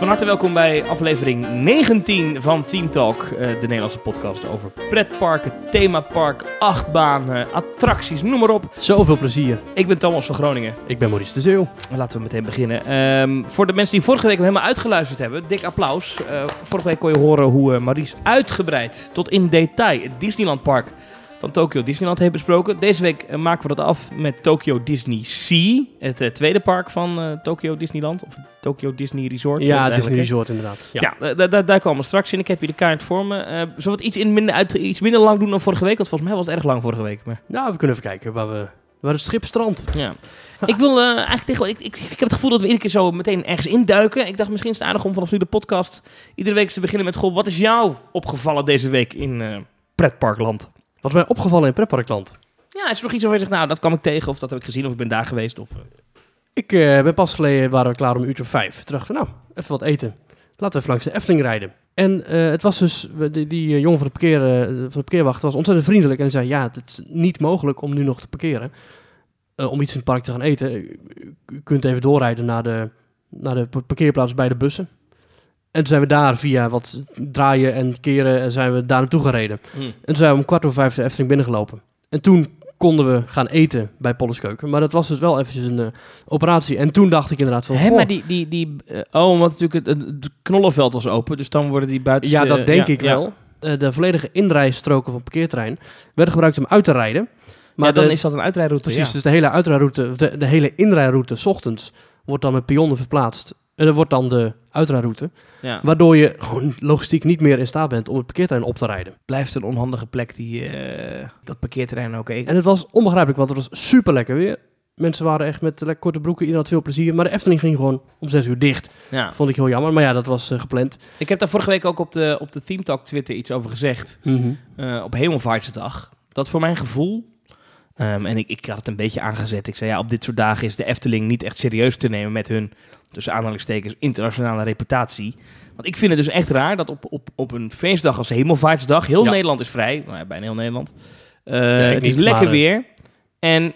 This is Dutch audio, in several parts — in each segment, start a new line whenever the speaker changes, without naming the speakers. Hartelijk welkom bij aflevering 19 van Theme Talk, eh, de Nederlandse podcast over pretparken, themapark, achtbanen, attracties, noem maar op.
Zoveel plezier.
Ik ben Thomas van Groningen.
Ik ben Maurice de Zeeuw.
Laten we meteen beginnen. Ehm, voor de mensen die vorige week hem helemaal uitgeluisterd hebben, dik applaus. Eh, vorige week kon je horen hoe eh, Maries uitgebreid tot in detail het Disneyland Park van Tokyo Disneyland heeft besproken. Deze week eh, maken we dat af met Tokyo Disney Sea, het eh, tweede park van eh, Tokyo Disneyland, of Tokyo Disney Resort. eh,
Ja,
eigenlijk,
Disney
hè?
Resort inderdaad.
Ja, da- da- da- daar komen we straks in. Ik heb hier de kaart voor me. Eh, zullen we het iets, in minder uit, iets minder lang doen dan vorige week? Want volgens mij was het erg lang vorige week. Maar,
Nou, we kunnen even kijken waar, we, waar het schip strandt.
ja. ik wil eh, eigenlijk tegen... Ik, ik, ik heb het gevoel dat we iedere keer zo meteen ergens induiken. Ik dacht misschien is het aardig om vanaf nu de podcast iedere week te beginnen met... Goh, wat is jou opgevallen deze week in eh, pretparkland?
Wat mij opgevallen in pretparkland.
Ja, is er nog iets waarvan je zegt, nou, dat kwam ik tegen. Of dat heb ik gezien. Of ik ben daar geweest. Of, eh,
Ik eh, ben pas geleden, waren we klaar om een uurtje of vijf. Toen dachten we, nou, even wat eten. Laten we even langs de Efteling rijden. En eh, het was dus, we- die, die eh, jongen van de, parkeer, eh, van de parkeerwacht was ontzettend vriendelijk. En zei, ja, het is niet mogelijk om nu nog te parkeren. eh, om iets in het park te gaan eten. U, u kunt even doorrijden naar de, naar de par- parkeerplaats bij de bussen. En toen zijn we daar via wat draaien en keren en zijn we daar naartoe gereden.
Hm.
En toen zijn we om kwart over vijf de Efteling binnengelopen. En toen konden we gaan eten bij Polles Keuken. Maar dat was dus wel eventjes een eh, operatie. En toen dacht ik inderdaad van...
Hè,
goh,
maar die... die, die eh, oh, want natuurlijk het, het- het knollenveld was open. Dus dan worden die buiten...
ja, dat denk ik wel. Eh, de volledige inrijstroken van het parkeerterrein werden gebruikt om uit te rijden.
Maar dan
de-
is dat een uitrijroute.
Precies,
ja.
dus de hele uitrijroute, de, de hele inrijroute, s ochtends, wordt dan met pionnen verplaatst. En dat wordt dan de uitrijroute.
Ja.
Waardoor je gewoon logistiek niet meer in staat bent om het parkeerterrein op te rijden.
blijft een onhandige plek, die, eh, dat parkeerterrein ook. Ik-
En het was onbegrijpelijk, want het was super lekker weer. Mensen waren echt met eh, lekker korte broeken, iedereen had veel plezier. Maar de Efteling ging gewoon om zes uur dicht.
ja.
Vond ik heel jammer, maar ja, dat was eh, gepland.
Ik heb daar vorige week ook op de, op de Theme Talk Twitter iets over gezegd. eh, op Hemelvaartsdag. Dat voor mijn gevoel... ehm, en ik, ik had het een beetje aangezet. Ik zei, ja, op dit soort dagen is de Efteling niet echt serieus te nemen met hun, tussen aanhalingstekens, internationale reputatie. Want ik vind het dus echt raar dat op, op, op een feestdag als Hemelvaartsdag, heel
Ja.
Nederland is vrij, nou ja, bijna heel Nederland, Eh,
ik
het is
niet,
lekker
maar, eh,
weer. En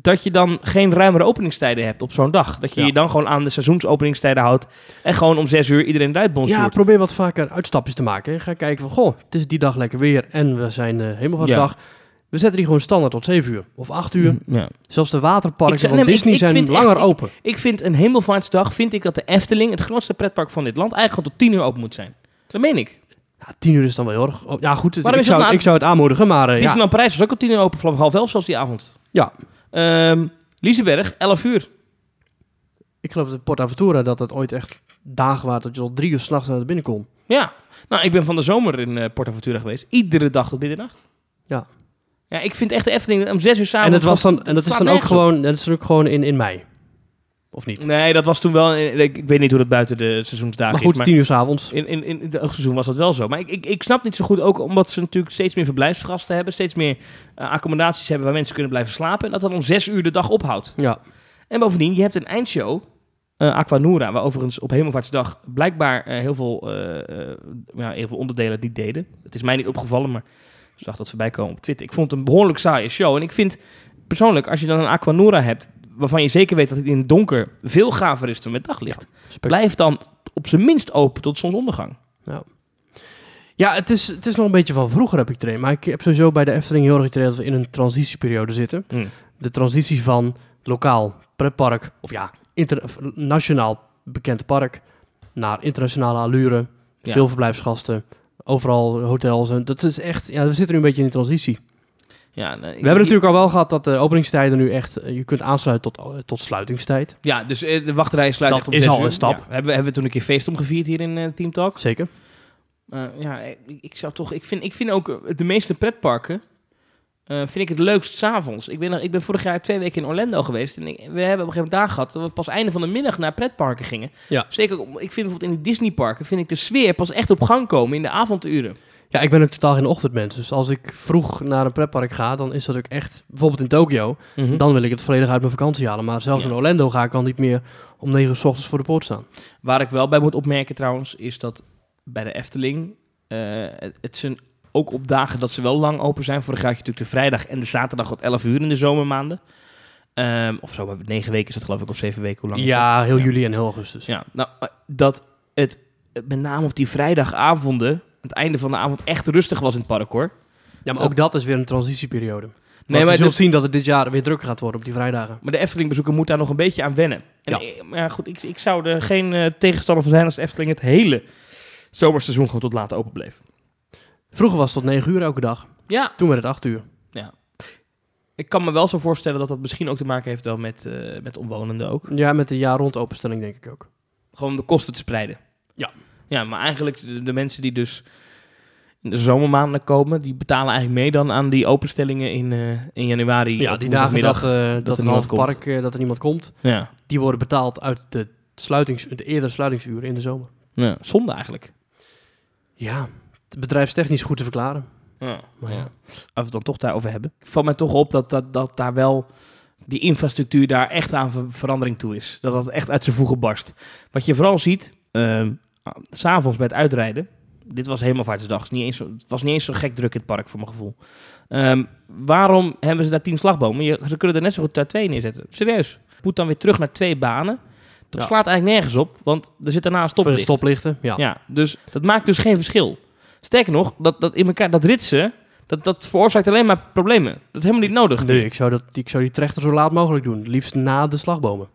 dat je dan geen ruimere openingstijden hebt op zo'n dag. Dat je
Ja.
je dan gewoon aan de seizoensopeningstijden houdt. En gewoon om zes uur iedereen eruit
Ja,
bonsoort.
probeer wat vaker uitstapjes te maken. hè. Ga kijken van, goh, het is die dag lekker weer en we zijn eh helemaal van
Ja. Mhm.
dag. We zetten die gewoon standaard tot zeven uur of acht uur.
ja.
Zelfs de
Ik
waterparken
zei- nee,
van
maar ik-
Disney
ik
zijn
vind echt-
langer
ik-
open.
Ik vind een hemelvaartsdag, vind ik dat de Efteling, het grootste pretpark van dit land, eigenlijk gewoon tot tien uur open moet zijn. Dat meen ik.
Ja, tien uur is dan wel heel erg... oh, ja, goed, het-
Waarom
ik
is dat
zou,
laat?
ik zou het aanmoedigen, maar eh, ja.
Disneyland Parijs was ook tot tien uur open, vanaf half elf zoals die avond.
Ja.
Ehm, Liseberg, elf uur.
ik geloof dat Port Aventura dat het ooit echt dagen waren dat je tot drie uur s'nachts naar binnen kon.
Ja. Nou, ik ben van de zomer in eh Porta Ventura geweest. Iedere dag tot middernacht.
Ja.
Ja, ik vind echt de Efteling om zes uur s'avonds...
en, het was dan, en dat is
slaat
dan ook
nergens op.
gewoon, en dat is dan ook gewoon in, in mei. Of niet?
Nee, dat was toen wel... eh, Ik, ik weet niet hoe dat buiten de seizoensdagen
Mm, maar
is,
goed, tien uur s'avonds.
In, in, in het oogseizoen was dat wel zo. Maar ik, ik, ik snap niet zo goed ook omdat ze natuurlijk steeds meer verblijfsgasten hebben. Steeds meer eh, accommodaties hebben waar mensen kunnen blijven slapen. En dat dat om zes uur de dag ophoudt.
Ja.
En bovendien, je hebt een eindshow. eh Aquanura, waar overigens op Hemelvaartsdag blijkbaar eh, heel, veel, eh, eh, ja, heel veel onderdelen het niet deden. Het is mij niet opgevallen, maar ik zag dat voorbij komen op Twitter. Ik vond het een behoorlijk saaie show. En ik vind persoonlijk, als je dan een Aquanura hebt, waarvan je zeker weet dat het in het donker veel gaver is dan met daglicht.
Spek-
Blijf dan op zijn minst open tot zonsondergang.
Ja, het is, het is nog een beetje van vroeger heb ik trainen. Maar ik heb sowieso bij de Efteling heel erg getraind dat we in een transitieperiode zitten.
Mm.
De transitie van lokaal pretpark, of ja, inter- of nationaal bekend park, naar internationale allure.
Ja.
Veel verblijfsgasten, overal hotels. En dat is echt, ja, we zitten nu een beetje in die transitie.
Ja, nee,
We hebben natuurlijk al wel gehad dat de openingstijden nu echt... eh, Je kunt aansluiten tot, eh, tot sluitingstijd.
Ja, dus eh, de wachtrij sluit
Dat
echt om
is
zes
al
uur.
een stap.
Ja, hebben, we- hebben we toen een keer feest omgevierd hier in eh, Team Talk.
Zeker.
Eh, ja, ik, ik zou toch... Ik vind, ik vind ook eh, de meeste pretparken... eh, vind ik het leukst s'avonds. Ik, ben nog- ik ben vorig jaar twee weken in Orlando geweest. En ik- we hebben op een gegeven moment daar gehad... dat we pas einde van de middag naar pretparken gingen.
Ja.
Zeker, om- ik vind bijvoorbeeld in de Disneyparken... vind ik de sfeer pas echt op gang komen in de avonduren.
Ja, ik ben ook totaal geen ochtendmens. Dus als ik vroeg naar een pretpark ga, dan is dat ook echt... Bijvoorbeeld in Tokio,
Mhm.
dan wil ik het volledig uit mijn vakantie halen. Maar zelfs
Ja.
in Orlando ga ik al niet meer om negen uur 's ochtends voor de poort staan.
Waar ik wel bij moet opmerken trouwens, is dat bij de Efteling, eh, het- het zijn ook op dagen dat ze wel lang open zijn. Vorig jaar had je natuurlijk de vrijdag en de zaterdag tot 11 uur in de zomermaanden. Ehm, of zo, maar negen weken is dat geloof ik, of zeven weken, hoe lang is dat?
Ja, heel
Ja.
juli en heel augustus.
Ja, nou, eh, dat het eh, met name op die vrijdagavonden, aan het einde van de avond, echt rustig was in het park hoor.
Ja, maar ook dat is weer een transitieperiode.
Nee,
Nee, maar
maar dus-
je zult
dat-
zien dat het dit jaar weer druk gaat worden op die vrijdagen.
Maar de Efteling bezoeker moet daar nog een beetje aan wennen. En
Ja.
eh, maar ja, goed, ik, ik zou er geen eh, tegenstander van zijn als de Efteling het hele zomerseizoen gewoon tot laat open bleef.
Vroeger was het tot 9 uur elke dag.
Ja,
Toen werd het 8 uur.
ik kan me wel zo voorstellen dat dat misschien ook te maken heeft wel met, eh, met omwonenden ook.
Ja, met de jaar rond openstelling denk ik ook.
Gewoon om de kosten te spreiden.
Ja.
Ja, maar eigenlijk de, de mensen die dus in de zomermaanden komen, die betalen eigenlijk mee dan aan die openstellingen in, eh, in januari.
Ja,
op
die dagen dat,
woensdagmiddag.
eh, dat,
er
een half
niemand komt.
park, eh, dat er niemand komt,
Ja.
die worden betaald uit de, sluitings, de eerdere sluitingsuren in de zomer.
ja, zonde eigenlijk.
Ja, het bedrijfstechnisch goed te verklaren.
Ja.
Maar ja.
Als we het dan toch daarover hebben. Valt mij toch op dat, dat, dat daar wel die infrastructuur daar echt aan ver- verandering toe is. Dat dat echt uit zijn voegen barst. Wat je vooral ziet, ehm, ah, s s'avonds bij het uitrijden. Dit was helemaal vaartsdag. Het is niet eens zo- het was niet eens zo gek druk in het park, voor mijn gevoel. Ehm, waarom hebben ze daar tien slagbomen? Je, ze kunnen er net zo goed daar twee neerzetten. Serieus. Het moet dan weer terug naar twee banen. Dat
Ja.
slaat eigenlijk nergens op, want er zit daarna een
Voor de
stoplicht.
stoplichten, ja.
Ja, dus dat maakt dus geen verschil. Sterker nog, dat, dat in elkaar, dat ritsen, dat, dat veroorzaakt alleen maar problemen. Dat is helemaal niet nodig.
Nee, ik zou, dat, ik zou die trechter zo laat mogelijk doen. Liefst na de slagbomen.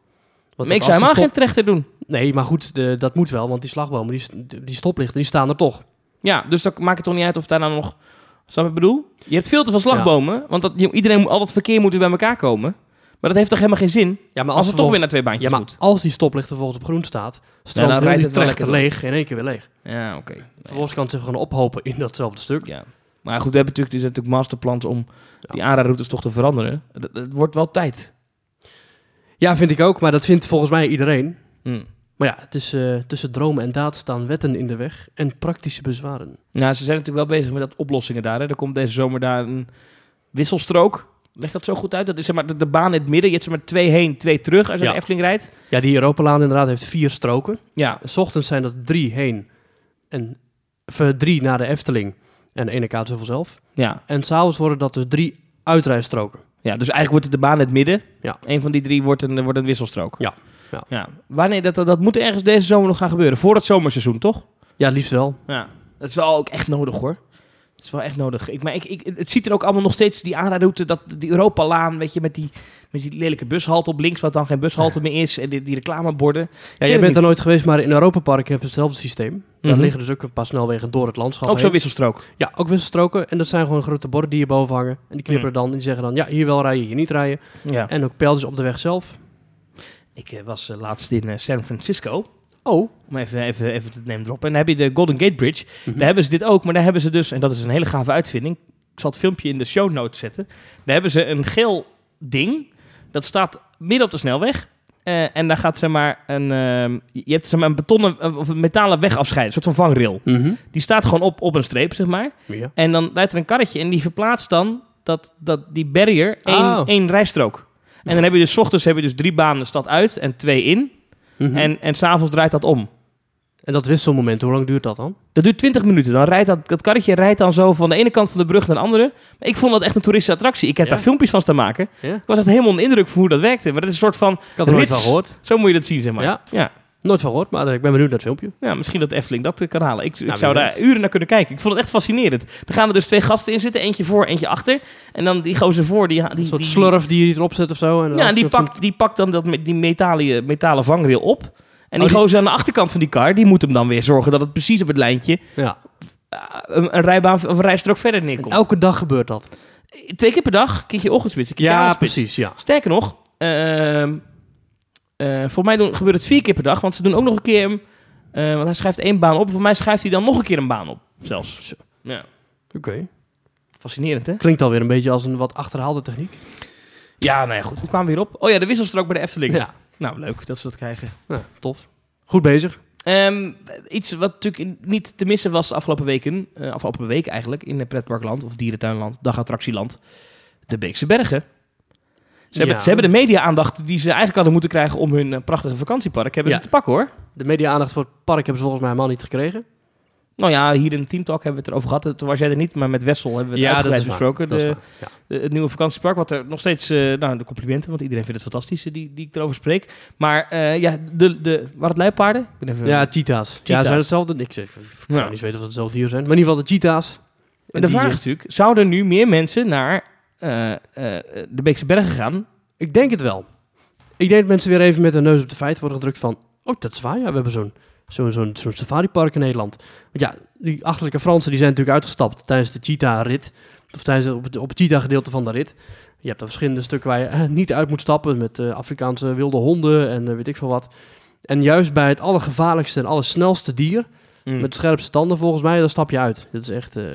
Want
maar ik
als
zou
de
helemaal
stop-
geen trechter doen.
Nee, maar goed, de- dat moet wel, want die slagbomen, die, st- die stoplichten, die staan er toch.
Ja, dus dat maakt het toch niet uit of daar nou nog... Snap je wat ik bedoel? Je hebt veel te veel slagbomen, want dat, je- iedereen, moet- al dat verkeer moet weer bij elkaar komen. Maar dat heeft toch helemaal geen zin?
Ja, maar
Als, het toch weer naar twee
Ja,
baantjes
maar
moet.
als die stoplicht vervolgens op groen staat, stroomt
dan
heel
rijdt
die
het wel
trechter
lekker
leeg in één keer weer leeg.
Ja, oké.
Vervolgens kan het zich gewoon ophopen in datzelfde stuk.
Ja. Maar goed, we hebben natuurlijk, er zijn natuurlijk masterplans om die aanraadroutes toch te veranderen. Het- Het wordt wel tijd.
Ja, vind ik ook, maar dat vindt volgens mij iedereen.
Hm.
Maar ja, het is, eh, tussen dromen en daad staan wetten in de weg en praktische bezwaren.
Nou, ze zijn natuurlijk wel bezig met dat oplossingen daar. Hè. Er komt deze zomer daar een wisselstrook. Leg dat zo goed uit? Dat is zeg maar de, de baan in het midden. Je hebt zeg maar twee heen, twee terug als je naar
Ja.
de Efteling rijdt.
Ja, die Europalaan inderdaad heeft vier stroken.
Ja,
S ochtends zijn dat drie heen en of, eh, drie naar de Efteling en ene kaart zoveel zelf.
ja,
En s'avonds worden dat dus drie uitrijstroken.
ja. Dus eigenlijk wordt het de baan in het midden.
Ja.
Een van die drie wordt een, wordt een wisselstrook.
Ja, ja.
Wanneer, dat, dat, dat moet ergens deze zomer nog gaan gebeuren. Voor het zomerseizoen, toch?
Ja, liefst wel.
Ja. Dat is wel ook echt nodig, hoor. Dat is wel echt nodig. Ik, maar ik, ik, het ziet er ook allemaal nog steeds, die aanraadroute, dat, die Europalaan, weet je, met die, met die lelijke bushalte op links, wat dan geen bushalte meer is, en die, die reclameborden.
Ja,
weet
jij
het
bent er
niet.
nooit geweest, maar in Europa Park heb je hetzelfde systeem. Daar
Mhm.
liggen dus ook een paar snelwegen door het landschap
Ook
heen.
zo'n wisselstrook.
Ja, ook wisselstroken. En dat zijn gewoon grote borden die hierboven hangen. En die knipperen dan en die zeggen dan, ja, hier wel rijden, hier niet rijden.
Ja.
En ook pijltjes op de weg zelf.
Ik eh, was eh, laatst in eh, San Francisco.
Oh,
Om even, even, even te nemen droppen. En dan heb je de Golden Gate Bridge.
Mhm.
Daar hebben ze dit ook. Maar daar hebben ze dus... En dat is een hele gave uitvinding. Ik zal het filmpje in de show notes zetten. Daar hebben ze een geel ding. Dat staat midden op de snelweg. Eh, en daar gaat zeg maar een... ehm, je hebt zeg maar een betonnen... eh, Of een metalen weg afscheiden. Een soort van vangrail. Die staat gewoon op, op een streep, zeg maar.
Mhm. ja.
En dan rijdt er een karretje en die verplaatst dan dat, dat, die barrier één,
Oh.
één rijstrook. En dan heb je dus 's ochtends heb je dus drie banen de stad uit en twee in.
En,
En, en s'avonds draait dat om.
en dat wisselmoment, hoe lang duurt dat dan?
Dat duurt 20 minuten. Dan rijdt dat, dat karretje rijdt dan zo van de ene kant van de brug naar de andere. Maar ik vond dat echt een toeristische attractie. Ik heb
Ja.
daar filmpjes van staan maken.
Ja.
Ik was echt helemaal onder de indruk van hoe dat werkte. Maar dat is een soort van,
Ik had er nooit
Rits.
van gehoord.
zo moet je dat zien, zeg maar.
Ja.
ja.
Nooit van gehoord, maar eh, ik ben benieuwd naar het filmpje.
Ja, misschien dat Efteling dat eh, kan halen. Ik, ik
Nou, wie
zou
weet.
daar uren naar kunnen kijken. Ik vond het echt fascinerend. Er gaan er dus twee gasten in zitten. Eentje voor, eentje achter. En dan die gozer voor, die... die
Een soort
die-
slurf die je erop zet of zo. En dan
Ja, en die
een soort-
pakt, die pakt dan dat, met die metalen, eh, metalen vangrail op. En die
Oh, die-
gozer aan de achterkant van die kar, die moet hem dan weer zorgen dat het precies op het lijntje
Ja.
eh, een, een rijbaan of een rijstrook verder
En
neerkomt.
elke dag gebeurt dat.
Twee keer per dag, een keertje ochtendspits, een keertje
Ja,
avondspits.
precies, ja.
Sterker nog, ehm eh, voor mij doen, gebeurt het vier keer per dag, want ze doen ook nog een keer, hem, eh, want hij schrijft één baan op, voor mij schrijft hij dan nog een keer een baan op, zelfs. Ja,
Oké.
fascinerend hè?
Klinkt alweer een beetje als een wat achterhaalde techniek.
Ja, nou ja, goed. We kwamen weer op. Oh ja, de wisselstrook bij de Efteling.
Ja.
Nou, leuk dat ze dat krijgen.
ja, tof. Goed bezig.
Ehm, iets wat natuurlijk in- niet te missen was de afgelopen weken, eh, afgelopen week eigenlijk, in het pretparkland of dierentuinland, dagattractieland, de Beekse Bergen. Ze, hebben,
Ja.
ze hebben de media-aandacht die ze eigenlijk hadden moeten krijgen om hun eh, prachtige vakantiepark, hebben
Ja.
ze te pakken hoor.
De media-aandacht voor het park hebben ze volgens mij helemaal niet gekregen.
Nou ja, hier in de Team Talk hebben we het erover gehad. Toen was jij er niet, maar met Wessel hebben we het uitgebreid besproken.
Dat is
De-
waar. Ja.
de- het nieuwe vakantiepark, wat er nog steeds... eh, nou, de complimenten, want iedereen vindt het fantastisch eh, die, die ik erover spreek. Maar eh, ja, de, de, waren het luipaarden? Ik ben even...
Ja, cheetahs. Ja,
Cheetahs.
zijn hetzelfde? Ik, zeg, ik zou
Ja.
niet weten of het hetzelfde dieren zijn. Maar in ieder geval de cheetahs.
En de
die,
vraag is natuurlijk, zouden er nu meer mensen naar eh, eh, de Beekse Bergen gaan?
Ik denk het wel. Ik denk dat mensen weer even met hun neus op de feit worden gedrukt van... Oh, dat is waar. Ja, we hebben zo'n zo'n zo'n zo'n safaripark in Nederland. Want ja, die achterlijke Fransen die zijn natuurlijk uitgestapt tijdens de cheetah-rit. Of tijdens op het, op het cheetah-gedeelte van de rit. Je hebt er verschillende stukken waar je eh, niet uit moet stappen... met eh, Afrikaanse wilde honden en eh, weet ik veel wat. En juist bij het allergevaarlijkste en allersnelste dier...
Hm.
Met de scherpste tanden volgens mij, dan stap je uit. Dat is echt, eh,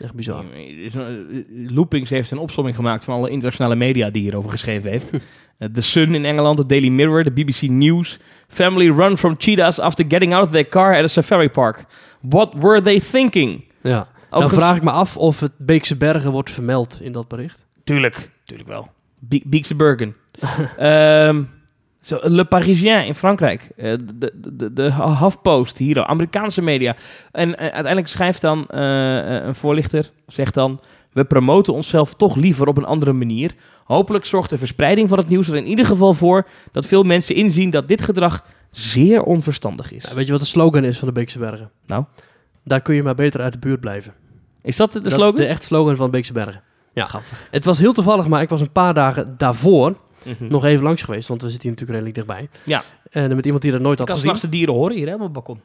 echt bizar.
Loopings heeft een opsomming gemaakt van alle internationale media die hierover geschreven heeft. Eh, The Sun in Engeland, de Daily Mirror, de BBC News. Family run from cheetahs after getting out of their car at a safari park. What were they thinking?
Ja. Dan
Overigens-
Nou, vraag ik me af of het Beekse Bergen wordt vermeld in dat bericht.
Tuurlijk, tuurlijk wel. Bie- Beekse Bergen. Ehm, zo, Le Parisien in Frankrijk. Eh, de, de, de, de HuffPost hier, al, Amerikaanse media. En eh, uiteindelijk schrijft dan eh, eh, een voorlichter, zegt dan... We promoten onszelf toch liever op een andere manier. Hopelijk zorgt de verspreiding van het nieuws er in ieder geval voor... dat veel mensen inzien dat dit gedrag zeer onverstandig is.
Ja, weet je wat de slogan is van de Beekse Bergen?
Nou?
Daar kun je maar beter uit de buurt blijven.
Is dat de
dat
slogan?
is de echt slogan van de Beekse Bergen. Ja.
Grappig.
Het was heel toevallig, maar ik was een paar dagen daarvoor
Mhm.
nog even langs geweest. Want we zitten hier natuurlijk redelijk dichtbij.
Ja.
En dan met iemand die dat nooit
Ik
had
kan
gezien.
s'nachts de dieren horen hier hè, op het balkon.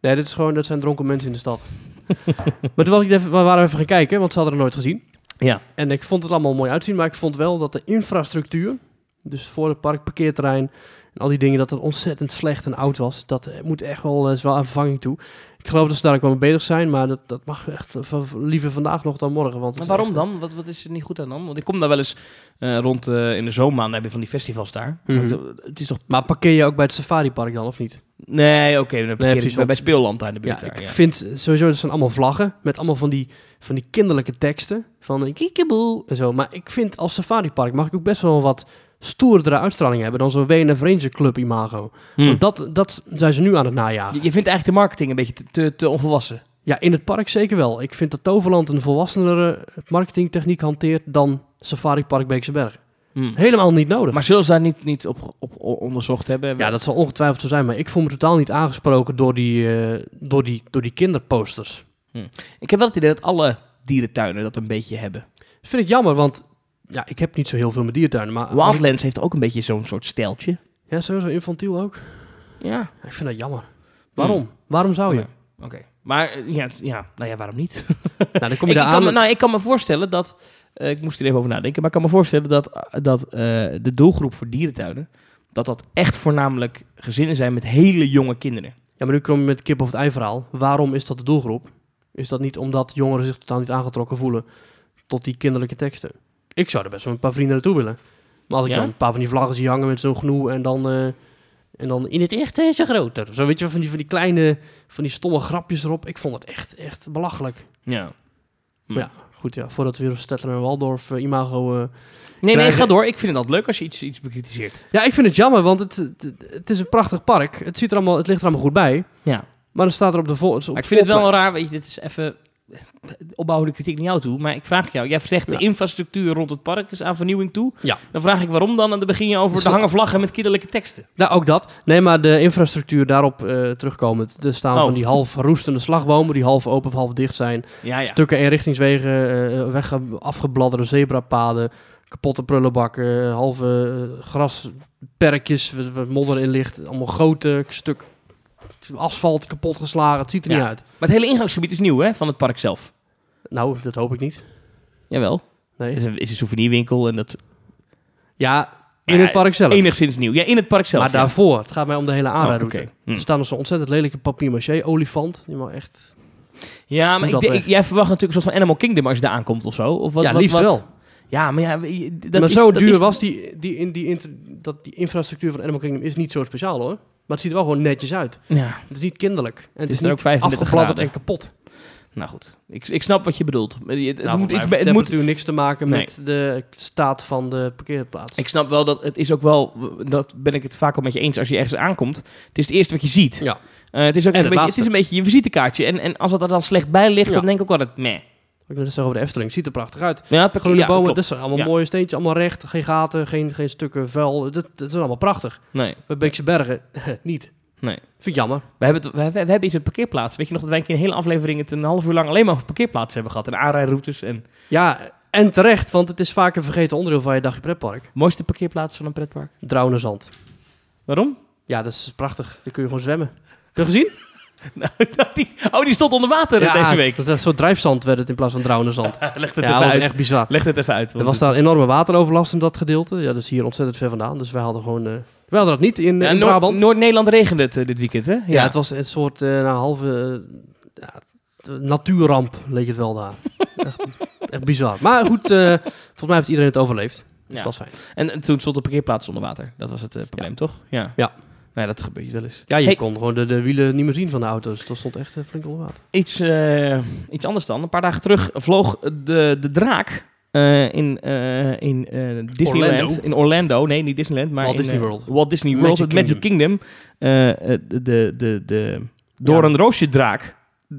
Nee, dit is gewoon, dat zijn dronken mensen in de stad. maar toen was ik even, we waren even gaan kijken, want ze hadden het nooit gezien.
Ja.
En ik vond het allemaal mooi uitzien, maar ik vond wel dat de infrastructuur, dus voor het park, parkeerterrein en al die dingen, dat het ontzettend slecht en oud was. Dat eh, moet echt wel, eh, is wel aan vervanging toe. Ik geloof dat ze daar ook wel mee bezig zijn, maar dat, dat mag echt van- van- liever vandaag nog dan morgen. Want het
Maar
is
waarom
echt-
dan? Wat, wat is er niet goed aan dan? Want ik kom daar wel eens eh, rond eh, in de zomermaanden heb je van die festivals daar.
Mhm.
Maar Het is toch...
Maar parkeer je ook bij het safaripark dan, of niet?
Nee, oké. dan parkeer ik
precies,
bij-
want-
bij Speelland daar in de buurt.
Ja,
daar,
ik
ja.
vind sowieso, dat zijn allemaal vlaggen met allemaal van die, van die kinderlijke teksten. Van een kiekeboe en zo. Maar ik vind als safaripark mag ik ook best wel wat stoerdere uitstraling hebben dan zo'n WNF Ranger Club imago.
Hmm.
Want dat, dat zijn ze nu aan het najagen.
Je, je vindt eigenlijk de marketing een beetje te, te, te onvolwassen.
Ja, in het park zeker wel. Ik vind dat Toverland een volwassenere marketingtechniek hanteert dan Safari Park Beekse Bergen.
Hmm.
Helemaal niet nodig.
Maar zullen ze daar niet, niet op, op o- onderzocht hebben?
ja, dat zal ongetwijfeld zo zijn, maar ik voel me totaal niet aangesproken door die, eh, door die, door die kinderposters.
Ik heb wel het idee dat alle dierentuinen dat een beetje hebben.
Vind ik jammer, want ja, ik heb niet zo heel veel met diertuinen. Maar als ik-
Wildlands heeft ook een beetje zo'n soort steltje.
ja, sowieso infantiel ook.
Ja.
Ja, Oh Ik vind dat jammer. Waarom? Waarom zou je?
Oh Ja. Oké. Maar eh, ja, het- ja, nou ja, waarom niet?
Nou, dan kom je
ik,
daar
ik kan
aan.
me, nou, ik kan me voorstellen dat. eh, ik moest er even over nadenken. Maar ik kan me voorstellen dat, dat eh, de doelgroep voor dierentuinen. dat dat echt voornamelijk gezinnen zijn met hele jonge kinderen.
Ja, maar nu kom je met het kip of het ei verhaal. Waarom is dat de doelgroep? Is dat niet omdat jongeren zich totaal niet aangetrokken voelen tot die kinderlijke teksten? Ik zou er best wel een paar vrienden naartoe willen. Maar als ik
Ja?
dan een paar van die vlaggen zie hangen met zo'n genoeg en dan... eh, en dan in het echt zijn ze groter. Zo weet je, wel, van die, van die kleine, van die stomme grapjes erop. Ik vond het echt, echt belachelijk.
Ja.
Maar ja, goed ja, voordat we weer op Stettler en Waldorf eh, imago eh,
Nee, nee,
Krijgen-
ga door. Ik vind het altijd leuk als je iets, iets bekritiseert.
Ja, ik vind het jammer, want het, het, het is een prachtig park. Het, ziet er allemaal, het ligt er allemaal goed bij.
Ja.
Maar dan staat er op de vol.
Maar ik vind het wel raar. Weet je, dit is even. eh, opbouwende kritiek naar jou toe. Maar ik vraag jou. Jij zegt
Ja.
de infrastructuur rond het park is aan vernieuwing toe.
Ja.
Dan vraag ik waarom dan. En dan begin je over
Dus
de
dat-
hangen vlaggen met kinderlijke teksten.
Nou, ook dat. Nee, maar de infrastructuur daarop eh, terugkomend. Er staan
Oh.
van die half roestende slagbomen, die half open of half dicht zijn.
Ja, ja.
Stukken en richtingswegen, eh, weg, afgebladderde zebrapaden, kapotte prullenbakken, eh, halve eh, grasperkjes waar waar modder in ligt. Allemaal grote stuk asfalt kapot geslagen. Het ziet er
Ja.
niet uit.
Maar het hele ingangsgebied is nieuw, hè? Van het park zelf.
Nou, dat hoop ik niet.
Jawel.
Nee.
Er is een, is een souvenirwinkel en dat
Ja, in
Maar
het park zelf.
enigszins nieuw. Ja, in het park zelf.
maar
ja.
daarvoor, het gaat mij om de hele
Oh,
ARA-route.
oké. Hm.
Er staat nog zo'n ontzettend lelijke papier-maché-olifant. Die mag echt...
Ja, maar
Doe
ik,
dat
denk-
weg.
ik- jij verwacht natuurlijk een soort van Animal Kingdom als je daar aankomt of zo. Of wat,
ja,
wat-
liefst
wat-
wel.
Ja, maar ja, je- dat
maar
is-
zo
dat
duur
is-
was die, die, in die, inter- dat die infrastructuur van Animal Kingdom is niet zo speciaal hoor. Maar het ziet er wel gewoon netjes uit.
Ja,
Het is niet kinderlijk. En het,
het
is,
is er ook
niet
35
afgebladderd
graden.
en kapot.
Nou goed, ik, ik snap wat je bedoelt. Het, het
Nou,
moet
volgens
iets,
mij
be-
heeft
het moet
temperatuur niks te maken
Nee.
met de staat van de parkeerplaats.
Ik snap wel dat het is ook wel, dat ben ik het vaak al met je eens als je ergens aankomt. Het is het eerste wat je ziet.
Ja.
Eh, het, is ook
En
een beetje,
het
het
laatste.
is een beetje je visitekaartje. En, en als dat er dan slecht bij ligt,
Ja.
dan denk ik ook altijd, meh.
Wat ik net zeggen over de Efteling, ziet er prachtig uit.
Ja, het-
Groene
ja,
bomen,
klopt.
dat zijn allemaal
Ja.
mooie steentjes, allemaal recht, geen gaten, geen, geen stukken vuil. Dat, dat is allemaal prachtig.
Nee.
Bij Beekse Bergen niet.
Nee.
Vind ik jammer.
We hebben, het, we, we- we hebben iets met parkeerplaatsen. Weet je nog dat wij een keer een hele aflevering het een half uur lang alleen maar over parkeerplaatsen hebben gehad. En aanrijroutes en
Ja, en terecht, want het is vaak een vergeten onderdeel van je dagje pretpark.
mooiste parkeerplaats van een pretpark.
Draunenzand.
Waarom?
Ja, dat is prachtig. Daar kun je gewoon zwemmen. Heb je gezien?
Dat die, oh, die stond onder water
ja,
deze week.
Dat is zo'n drijfzand werd het in plaats van draunenzand.
Leg het
ja,
even
dat is
uit.
echt bizar.
Leg het even uit.
Er
want
was daar enorme wateroverlast in dat gedeelte. Ja, dat is hier ontzettend ver vandaan. Dus wij hadden gewoon... eh wij hadden dat niet in,
Ja,
in
Noord-
Brabant.
Noord-Nederland regende het eh, dit weekend, hè? Ja,
ja. het was een soort eh, nou, halve eh, ja, t- natuurramp, leek het wel daar. echt, echt bizar. Maar goed, eh, volgens mij heeft iedereen het overleefd. Dus
Ja.
dat is fijn.
En, en toen stond de parkeerplaats onder water. Dat was het eh, probleem, toch? Ja.
Ja.
Nou, dat gebeurt wel eens.
Ja, je
Hey,
kon gewoon de, de wielen niet meer zien van de auto's. Dat stond echt eh, flink onder water.
iets, eh, iets anders dan. Een paar dagen terug vloog de, de draak eh, in, eh, in eh, Disneyland.
Orlando.
In Orlando. Nee, niet Disneyland, maar
Walt
in, eh,
Disney World.
Walt Disney World,
Magic
het Magic Kingdom. Eh, eh, de, de, de, de door
Ja.
een roosje draak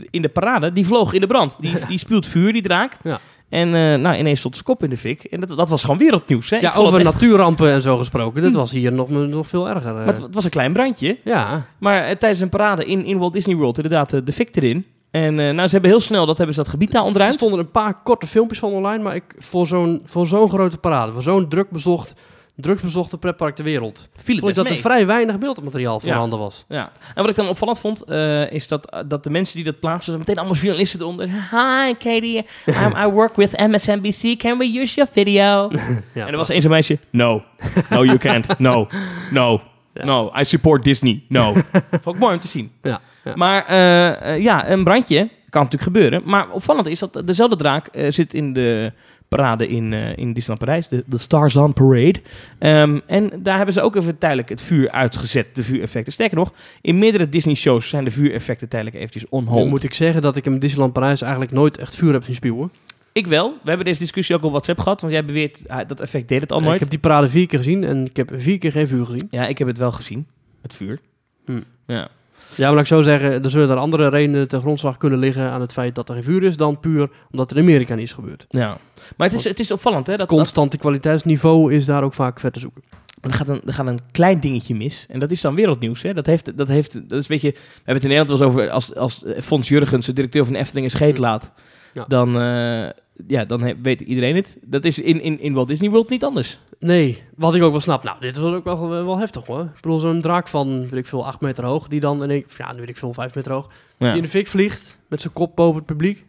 in de parade, die vloog in de brand. Die, die spuwt vuur, die draak.
Ja.
En eh, nou, ineens stond zijn kop in de fik. En dat, dat was gewoon wereldnieuws. Hè? Ik
Ja,
vond dat
over
echt- Hm.
natuurrampen en zo gesproken. Dit was hier nog, nog veel erger. eh.
Maar het, het was een klein brandje.
ja,
Maar eh, tijdens een parade in, in Walt Disney World inderdaad eh, de fik erin. En eh, nou, ze hebben heel snel dat, hebben ze dat gebied daar
er
ontruimd.
stonden een paar korte filmpjes van online. Maar ik, voor zo'n voor zo'n grote parade, voor zo'n druk bezocht, drugsbezochte pretpark ter wereld...
Viel het
vond ik dat
best
er
mee.
vrij weinig beeldmateriaal
Ja.
voorhanden was.
Ja. En wat ik dan opvallend vond, eh, is dat, eh, dat de mensen die dat plaatsen, meteen allemaal journalisten eronder. Hi Katie, I'm- I work with MSNBC, can we use your video?
Ja,
en er was eens een meisje, no, no you can't, no, no,
Ja.
no, I support Disney, no. Vond ik mooi om te zien.
Ja, ja.
Maar eh, eh, ja, een brandje kan natuurlijk gebeuren. Maar opvallend is dat dezelfde draak eh, zit in de parade in, eh, in Disneyland Parijs, de, de Starzan Parade. Ehm, en daar hebben ze ook even tijdelijk het vuur uitgezet, de vuureffecten. Sterker nog, in meerdere Disney-shows zijn de vuureffecten tijdelijk eventjes on
Dan
hold.
moet ik zeggen dat ik in Disneyland Parijs eigenlijk nooit echt vuur heb zien spuwen.
Ik wel. We hebben deze discussie ook op WhatsApp gehad, want jij beweert ah, dat effect deed het al
Ik
nooit.
heb die parade vier keer gezien en ik heb vier keer geen vuur gezien.
Ja, ik heb het wel gezien, het vuur.
Hm.
Ja.
Ja, maar laat ik zo zeggen, er zullen er andere redenen ten grondslag kunnen liggen aan het feit dat er geen vuur is dan puur omdat er in Amerika niets gebeurt.
ja. Maar het is, het is opvallend, hè? Dat, dat-
Constante kwaliteitsniveau is daar ook vaak ver te zoeken.
Maar Er gaat, een, er gaat een klein dingetje mis. En dat is dan wereldnieuws. Hè? Dat, heeft, dat, heeft, dat is een beetje... We hebben het in Nederland wel eens over... Als, als eh, Fons Jurgens, de directeur van de Efteling, een scheet laat...
Hm. Ja.
Dan, eh, ja, dan he- weet iedereen het. Dat is in, in, in Walt Disney World niet anders.
Nee, wat ik ook wel snap. Nou, dit is ook wel, wel heftig hoor. Ik bedoel, zo'n draak van, weet ik veel, 8 meter hoog, die dan in één, of ja, nu weet ik veel, 5 meter hoog, die
Ja.
in de fik vliegt met zijn kop boven het publiek.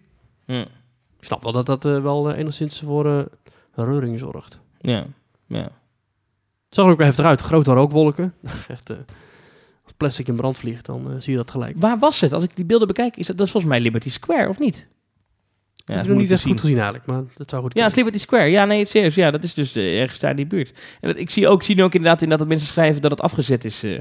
Ja.
Ik snap wel dat dat eh, wel eh, enigszins voor eh, reuring zorgt.
Ja. Ja.
Het zag er ook wel heftig uit. Grote rookwolken. Echt, eh, als plastic in brand vliegt, dan eh, zie je dat gelijk.
Waar was het? Als ik die beelden bekijk, is dat, dat is volgens mij Liberty Square, of niet?
Ja, ik
dat
heb nog
moet ik
niet
dus
echt
zien.
goed gezien eigenlijk, maar dat zou goed
Ja,
kunnen.
het is Liberty Square. Ja, nee, serieus. Ja, dat is dus eh, ergens daar in die buurt. En dat, ik zie ook, zie nu ook inderdaad, inderdaad dat mensen schrijven dat het afgezet is eh,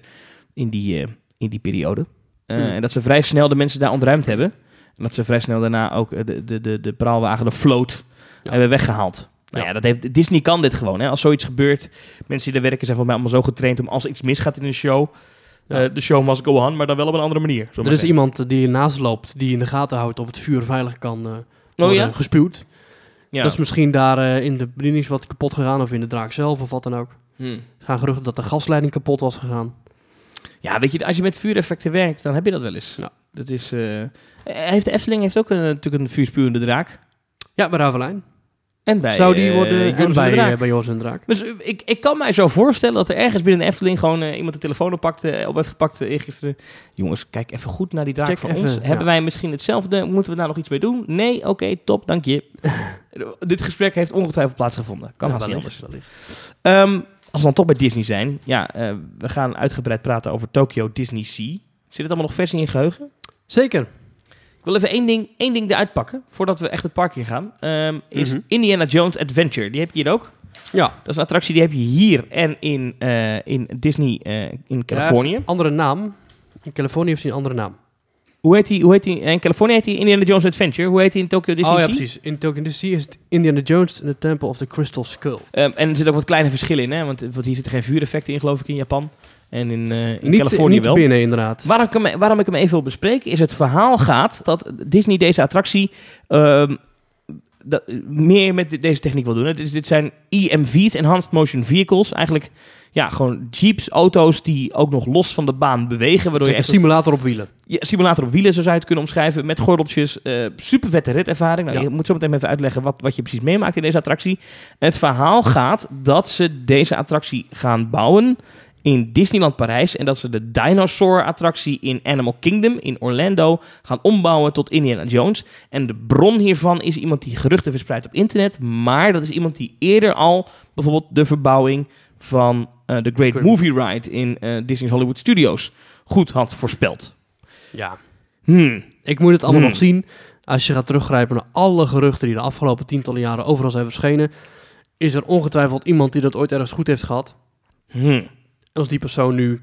in, die, eh, in die periode. Eh,
Hmm.
En dat ze vrij snel de mensen daar ontruimd hebben. En dat ze vrij snel daarna ook eh, de, de, de, de praalwagen, de float,
Ja.
hebben weggehaald. Nou
Ja.
ja, dat heeft, Disney kan dit gewoon. Hè. Als zoiets gebeurt, mensen die daar werken zijn volgens mij allemaal zo getraind om als iets misgaat in een show,
Ja.
eh, de show must go on, maar dan wel op een andere manier. zullen we
Er is
zeggen.
iemand die ernaast loopt, die in de gaten houdt of het vuur veilig kan eh
Oh
worden
ja?
gespuwd.
Ja.
Dat is misschien daar eh, in de bediening wat kapot gegaan of in de draak zelf of wat dan ook.
Hmm.
Er gaan geruchten dat de gasleiding kapot was gegaan.
Ja, weet je, als je met vuureffecten werkt, dan heb je dat wel eens.
Ja.
Dat is, eh, eh, heeft de Efteling heeft ook een, natuurlijk een vuurspuwende draak.
Ja, bij Ravelijn.
En bij
zou die
eh,
worden
Joris en
en
de
bij,
Draak.
eh, bij Joris en de Draak.
Dus eh, ik, ik kan mij zo voorstellen dat er ergens binnen de Efteling gewoon eh, iemand de telefoon oppakte, eh, op heeft gepakt eh, gisteren. Jongens, kijk even goed naar die draak
Check
van
even,
ons.
ja.
Hebben wij misschien hetzelfde? Moeten we daar nog iets mee doen? Nee, oké, top, dank je. Eh, Dit gesprek heeft ongetwijfeld plaatsgevonden. Kan
Ja,
haast niet
wellicht,
anders.
wellicht.
Ehm, als we dan toch bij Disney zijn. Ja, eh, we gaan uitgebreid praten over Tokyo Disney Sea. Zit het allemaal nog vers in je geheugen?
Zeker.
Ik wil even één ding, één ding eruit pakken, voordat we echt het park in gaan. Ehm, is
Mhm.
Indiana Jones Adventure. Die heb je hier ook.
Ja.
Dat is een attractie die heb je hier en in, eh, in Disney eh, in Californië.
Andere naam. In Californië heeft hij een andere naam.
Hoe heet die? Hoe heet die? eh, In Californië heet die Indiana Jones Adventure. Hoe heet die in Tokyo Disney?
oh ja,
Sea?
precies. In Tokyo Disney is het Indiana Jones en de Temple of the Crystal Skull.
Ehm, en er zitten ook wat kleine verschillen in, hè? Want, want hier zitten geen vuureffecten in, geloof ik, in Japan. En in, eh, in
niet
Californië
niet
wel.
binnen, inderdaad.
Waarom ik, hem, waarom ik hem even wil bespreken, is het verhaal gaat dat Disney deze attractie ehm, dat, eh, meer met de- deze techniek wil doen. Het is, dit zijn EMV's, Enhanced Motion Vehicles. Eigenlijk ja, gewoon jeeps, auto's die ook nog los van de baan bewegen. Waardoor je
Een
echt
simulator op wielen.
ja, simulator op wielen, zo zou je het kunnen omschrijven. Met gordeltjes. eh super vette ritervaring. Nou,
Ja.
Je moet zo meteen even uitleggen wat, wat je precies meemaakt in deze attractie. Het verhaal gaat dat ze deze attractie gaan bouwen in Disneyland Parijs. En dat ze de dinosaur-attractie in Animal Kingdom in Orlando gaan ombouwen tot Indiana Jones. En de bron hiervan is iemand die geruchten verspreidt op internet. Maar dat is iemand die eerder al bijvoorbeeld de verbouwing van eh, de Great
Great-
Movie Ride in eh, Disney's Hollywood Studios goed had voorspeld.
Ja.
Hmm.
Ik moet het allemaal
Hmm.
nog zien. Als je gaat teruggrijpen naar alle geruchten die de afgelopen tientallen jaren overal zijn verschenen, is er ongetwijfeld iemand die dat ooit ergens goed heeft gehad.
Hmm.
En als die persoon nu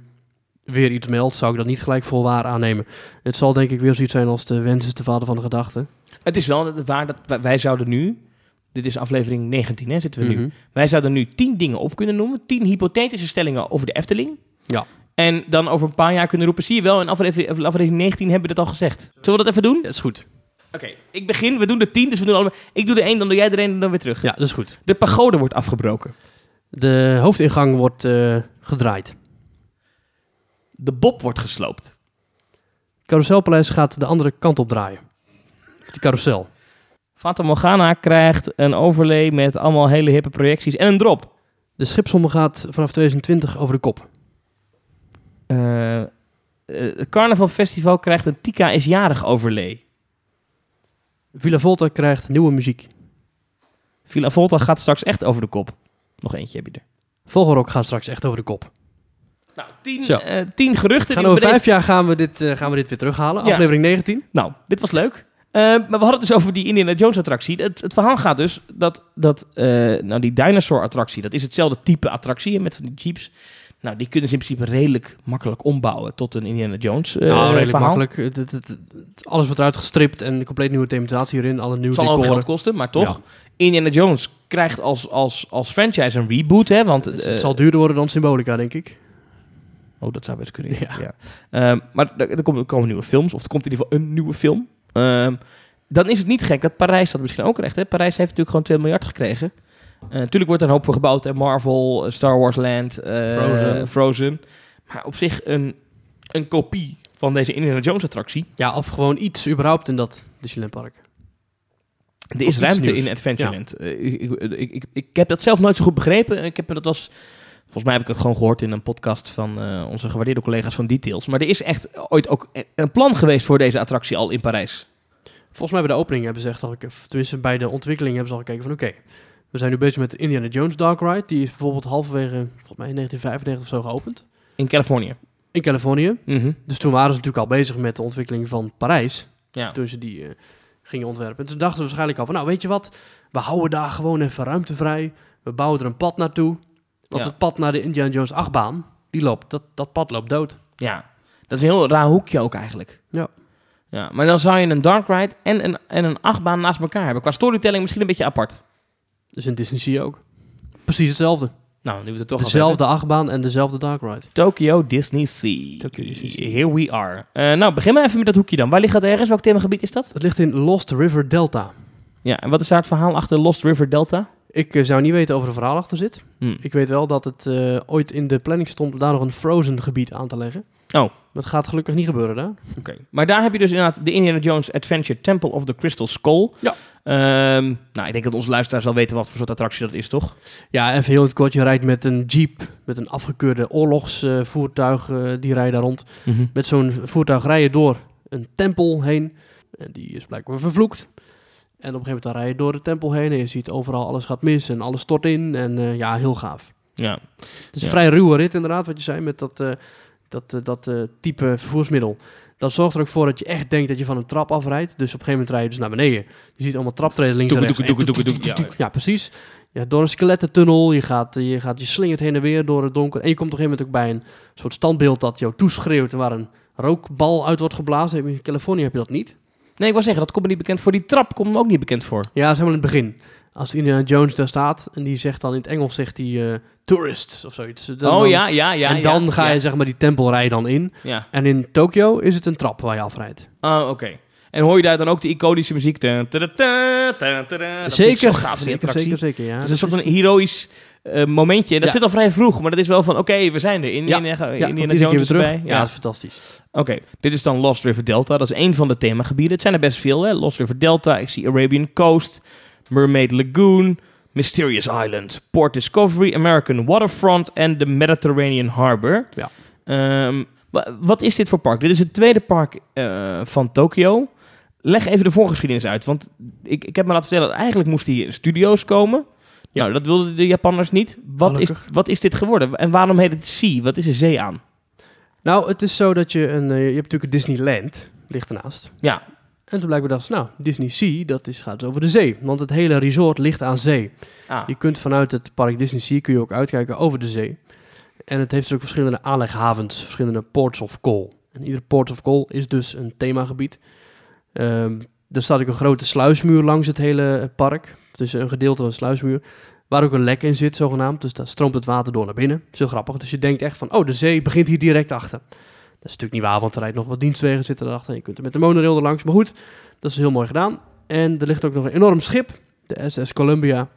weer iets meldt, zou ik dat niet gelijk voor waar aannemen. Het zal denk ik weer zoiets zijn als de wens is de vader van de gedachte.
Het is wel waar dat wij- wij zouden nu... Dit is aflevering 19, hè, zitten we nu.
Mhm.
Wij zouden nu tien dingen op kunnen noemen. Tien hypothetische stellingen over de Efteling.
Ja.
En dan over een paar jaar kunnen roepen... Zie je wel, in aflevering, aflevering 19 hebben we dat al gezegd. Zullen we dat even doen?
Ja, dat is goed.
Oké, ik begin. We doen de tien, dus we doen allemaal... Ik doe de één, dan doe jij de één en dan weer terug.
Ja, dat is goed.
De pagode wordt afgebroken.
De hoofdingang wordt eh, gedraaid.
De bob wordt gesloopt.
Het carouselpaleis gaat de andere kant op draaien. De carousel.
Fata Morgana krijgt een overlay met allemaal hele hippe projecties en een drop.
De schipsommen gaat vanaf 2020 over de kop.
Eh, eh, het Carnaval Festival krijgt een Tika is jarig overlay.
Villa Volta krijgt nieuwe muziek.
Villa Volta gaat straks echt over de kop. Nog eentje heb je er.
Vogelrok gaat straks echt over de kop.
Nou, tien,
Zo.
eh, tien geruchten. die
Gaan
we
over
bij
vijf jaar gaan we dit, eh, gaan we dit weer terughalen.
Ja.
Aflevering 19.
deze- Nou, dit was leuk. Eh, maar we hadden het dus over die Indiana Jones attractie. Het, het verhaal gaat dus dat, dat eh, nou die dinosaur attractie, dat is hetzelfde type attractie hè, met van die jeeps. Nou, die kunnen ze in principe redelijk makkelijk ombouwen tot een Indiana Jones eh,
nou, redelijk
verhaal.
makkelijk. Het, het- het- het- alles wordt uitgestript en een compleet nieuwe thematisatie hierin. Alle nieuwe
Het zal ook
decoren.
geld kosten, maar toch. Indiana Jones krijgt als, als, als franchise een reboot, hè? Want
Dus Het,
eh,
het zal duurder worden dan Symbolica, denk ik.
Oh, dat zou best kunnen. Ja.
Ja.
Ja. Ehm, maar er, er komen, er komen nieuwe films, of er komt in ieder geval een nieuwe film. Ehm, dan is het niet gek dat Parijs dat misschien ook recht heeft. Parijs heeft natuurlijk gewoon 2 miljard gekregen. Eh, Natuurlijk wordt er een hoop voor gebouwd. Hè? Marvel, eh, Star Wars Land, eh,
Frozen.
Frozen. Maar op zich een, een kopie van deze Indiana Jones attractie.
Ja, of gewoon iets überhaupt in dat Disneylandpark.
Er is
iets
ruimte
nieuws.
in Adventureland. Eh, ik, ik, ik, ik, ik heb dat zelf nooit zo goed begrepen. Ik heb, dat was, volgens mij heb ik het gewoon gehoord in een podcast van eh, onze gewaardeerde collega's van Details. Maar er is echt ooit ook e- een plan geweest voor deze attractie al in Parijs.
Volgens mij bij de opening hebben ze echt al... of Tenminste, bij de ontwikkeling hebben ze al gekeken van... Oké, we zijn nu bezig met de Indiana Jones Dark Ride. Die is bijvoorbeeld halverwege, volgens mij in 1995 of zo, geopend.
In Californië.
In Californië.
Mhm.
Dus toen waren ze natuurlijk al bezig met de ontwikkeling van Parijs.
Ja.
Toen ze die eh, gingen ontwerpen. En toen dachten ze waarschijnlijk al van, nou weet je wat, we houden daar gewoon even ruimte vrij. We bouwen er een pad naartoe. Want
Ja.
het pad naar de Indiana Jones achtbaan, die loopt, dat, dat pad loopt dood.
ja. Dat is een heel raar hoekje ook eigenlijk.
Ja.
ja. Maar dan zou je een dark ride en een, en een achtbaan naast elkaar hebben. Qua storytelling misschien een beetje apart.
Dus in Disney Sea ook. Precies hetzelfde.
Nou, nu we het toch al hebben.
Dezelfde achtbaan en dezelfde dark ride.
Tokyo Disney Sea.
Tokyo Disney Sea.
Here we are. Eh, nou, begin maar even met dat hoekje dan. Waar ligt dat ergens? Welk themagebied is dat?
Dat ligt in Lost River Delta.
Ja, en wat is daar het verhaal achter Lost River Delta?
Ik eh, zou niet weten of er een verhaal achter zit.
Hmm.
Ik weet wel dat het eh, ooit in de planning stond om daar nog een Frozen gebied aan te leggen.
Oh.
Dat gaat gelukkig niet gebeuren daar.
Maar daar heb je dus inderdaad de Indiana Jones Adventure Temple of the Crystal Skull.
Ja.
Ehm, nou, ik denk dat onze luisteraars wel weten wat voor soort attractie dat is, toch?
Ja, even heel in het kort. Je rijdt met een jeep, met een afgekeurde oorlogsvoertuig. eh, die rijden daar rond. Met zo'n voertuig rij je door een tempel heen. En die is blijkbaar vervloekt. En op een gegeven moment dan rij je door de tempel heen. En je ziet overal alles gaat mis en alles stort in. En eh, ja, heel gaaf.
Ja.
Het is
Ja.
een vrij ruwe rit inderdaad, wat je zei, met dat, eh, dat, eh, dat eh, type vervoersmiddel. Dat zorgt er ook voor dat je echt denkt dat je van een trap afrijdt. Dus op een gegeven moment rij je dus naar beneden. Je ziet allemaal traptreden links en
Doeke,
rechts.
doeke, doeke,
En
doeke, doeke,
toek, toek, toek. Ja, precies. Ja, door een skelettentunnel. Je, gaat, eh, je, gaat, je slingert heen en weer door het donker. En je komt op een gegeven moment ook bij een soort standbeeld dat jou toeschreeuwt. En waar een rookbal uit wordt geblazen. In Californië heb je dat niet.
Nee, ik wil zeggen, dat komt me niet bekend voor. Die trap komt me ook niet bekend voor.
Ja, dat is helemaal in het begin. Als Indiana Jones daar staat en die zegt dan in het Engels zegt hij eh, tourists of zoiets. Dan-
oh
dan-
ja, ja, ja.
en dan
ja,
ga je
ja,
zeg maar die tempel rijden dan in.
Ja.
En in Tokio is het een trap waar je afrijdt.
Oh, oké. En hoor je daar dan ook de iconische muziek? Tan, tada, tan, tada, tada. Dat vind ik zo gaaf in die
zeker,
attractie.
zeker, zeker. Ja,
Het
Dat
is een soort
is-
van heroïs eh, momentje. En dat
Ja.
zit al vrij vroeg, maar dat is wel van... Oké, we zijn er. In,
Ja.
in, in,
ja, komt
Indiana
iedere keer
Jones
weer
is
terug.
erbij.
Ja,
Ja.
dat is fantastisch.
Oké, dit is dan Lost River Delta. Dat is één van de themagebieden. Het zijn er best veel, hè. Lost River Delta, ik zie Arabian Coast, Mermaid Lagoon, Mysterious Island, Port Discovery, American Waterfront en de Mediterranean Harbor.
Ja.
Ehm, wa- wat is dit voor park? Dit is het tweede park eh, van Tokio. Leg even de voorgeschiedenis uit, want ik, ik heb me laten vertellen... dat eigenlijk moesten hier studio's komen...
Ja.
Nou, dat wilden de Japanners niet. Wat is, wat is dit geworden? En waarom heet het Sea? Wat is de zee aan?
Nou, het is zo dat je een... eh, je hebt natuurlijk Disneyland, ligt ernaast.
Ja.
En toen blijkbaar dacht ze, nou, Disney Sea, dat is, gaat dus over de zee. Want het hele resort ligt aan zee.
Ah.
Je kunt vanuit het park Disney Sea kun je ook uitkijken over de zee. En het heeft dus ook verschillende aanleghavens, verschillende ports of call. En ieder port of call is dus een themagebied. Ehm er staat ook een grote sluismuur langs het hele eh, park. Dus een gedeelte van een sluismuur. Waar ook een lek in zit, zogenaamd. Dus daar stroomt het water door naar binnen. Zo grappig. Dus je denkt echt van, oh, de zee begint hier direct achter. Dat is natuurlijk niet waar, want er rijdt nog wat dienstwegen zitten erachter. En je kunt er met de monorail er langs. Maar goed, dat is heel mooi gedaan. En er ligt ook nog een enorm schip, de SS Columbia.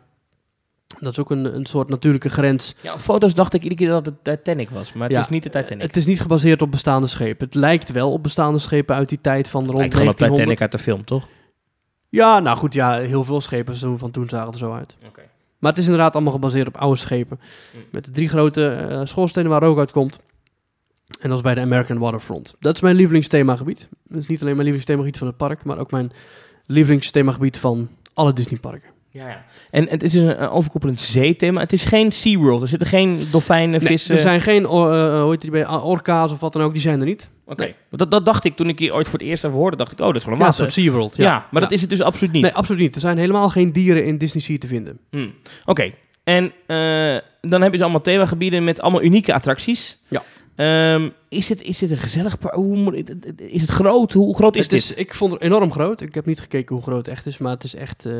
Dat is ook een, een soort natuurlijke grens.
Ja, op foto's dacht ik iedere keer dat het Titanic was, maar het
Ja.
is niet de Titanic.
Het is niet gebaseerd op bestaande schepen. Het lijkt wel op bestaande schepen uit die tijd van rond
lijkt gewoon op
1900.
Titanic uit de film, toch?
Ja, nou goed, ja, heel veel schepen zo- van toen zagen er zo uit.
Oké.
Maar het is inderdaad allemaal gebaseerd op oude schepen.
Hm.
Met de drie grote eh, schoorstenen waar rook uit komt. En dat is bij de American Waterfront. Dat is mijn lievelingsthemagebied. Dat is niet alleen mijn lievelingsthemagebied van het park, maar ook mijn lievelingsthemagebied van alle Disneyparken.
Ja, ja. En het is een, een overkoepelend zeethema. Het is geen SeaWorld. Er zitten geen dolfijnen,
Nee,
vissen.
er zijn geen or- eh, hoe heet die bij- orka's of wat dan ook, die zijn er niet.
Oké. Want Dat, dat dacht ik toen ik hier ooit voor het eerst over hoorde. dacht ik, oh, dat is gewoon een
Ja, een
water.
soort SeaWorld.
Ja, maar dat is het dus absoluut niet.
Nee, absoluut niet. Er zijn helemaal geen dieren in Disney Sea te vinden.
Hm. Oké. En eh, dan hebben ze allemaal themagebieden met allemaal unieke attracties.
Ja.
Ehm, is, dit, is dit een gezellig park? Hoe moet ik- Is het groot? Hoe groot is
Het is,
dit?
ik vond het enorm groot. Ik heb niet gekeken hoe groot het echt is, maar het is echt. eh,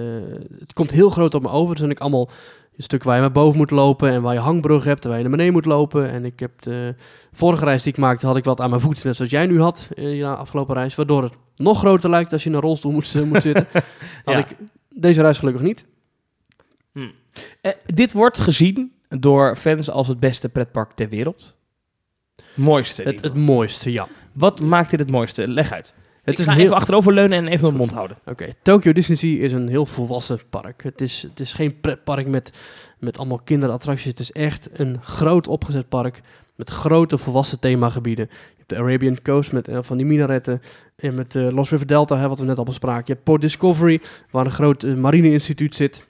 het komt heel groot op me over. Er zijn ook allemaal stukken waar je naar boven moet lopen en waar je hangbrug hebt en waar je naar beneden moet lopen. En ik heb de vorige reis die ik maakte, had ik wat aan mijn voet, net zoals jij nu had in je afgelopen reis, waardoor het nog groter lijkt als je in een rolstoel moet, eh, moet zitten. Had
Ja.
ik deze reis gelukkig niet.
Eh, dit wordt gezien door fans als het beste pretpark ter wereld. Mooiste. in
Het,
ieder
het mooiste, ja.
geval. Wat maakt dit het mooiste? Leg uit.
Het
ik ga even achteroverleunen en even mijn mond houden.
Oké, Tokyo Disney Sea is een heel volwassen park. Het is, het is geen pretpark met, met allemaal kinderattracties. Het is echt een groot opgezet park met grote volwassen themagebieden. Je hebt de Arabian Coast met eh, van die minaretten. En met de Lost River Delta, hè, wat we net al bespraken. Je hebt Port Discovery, waar een groot eh, marineinstituut zit.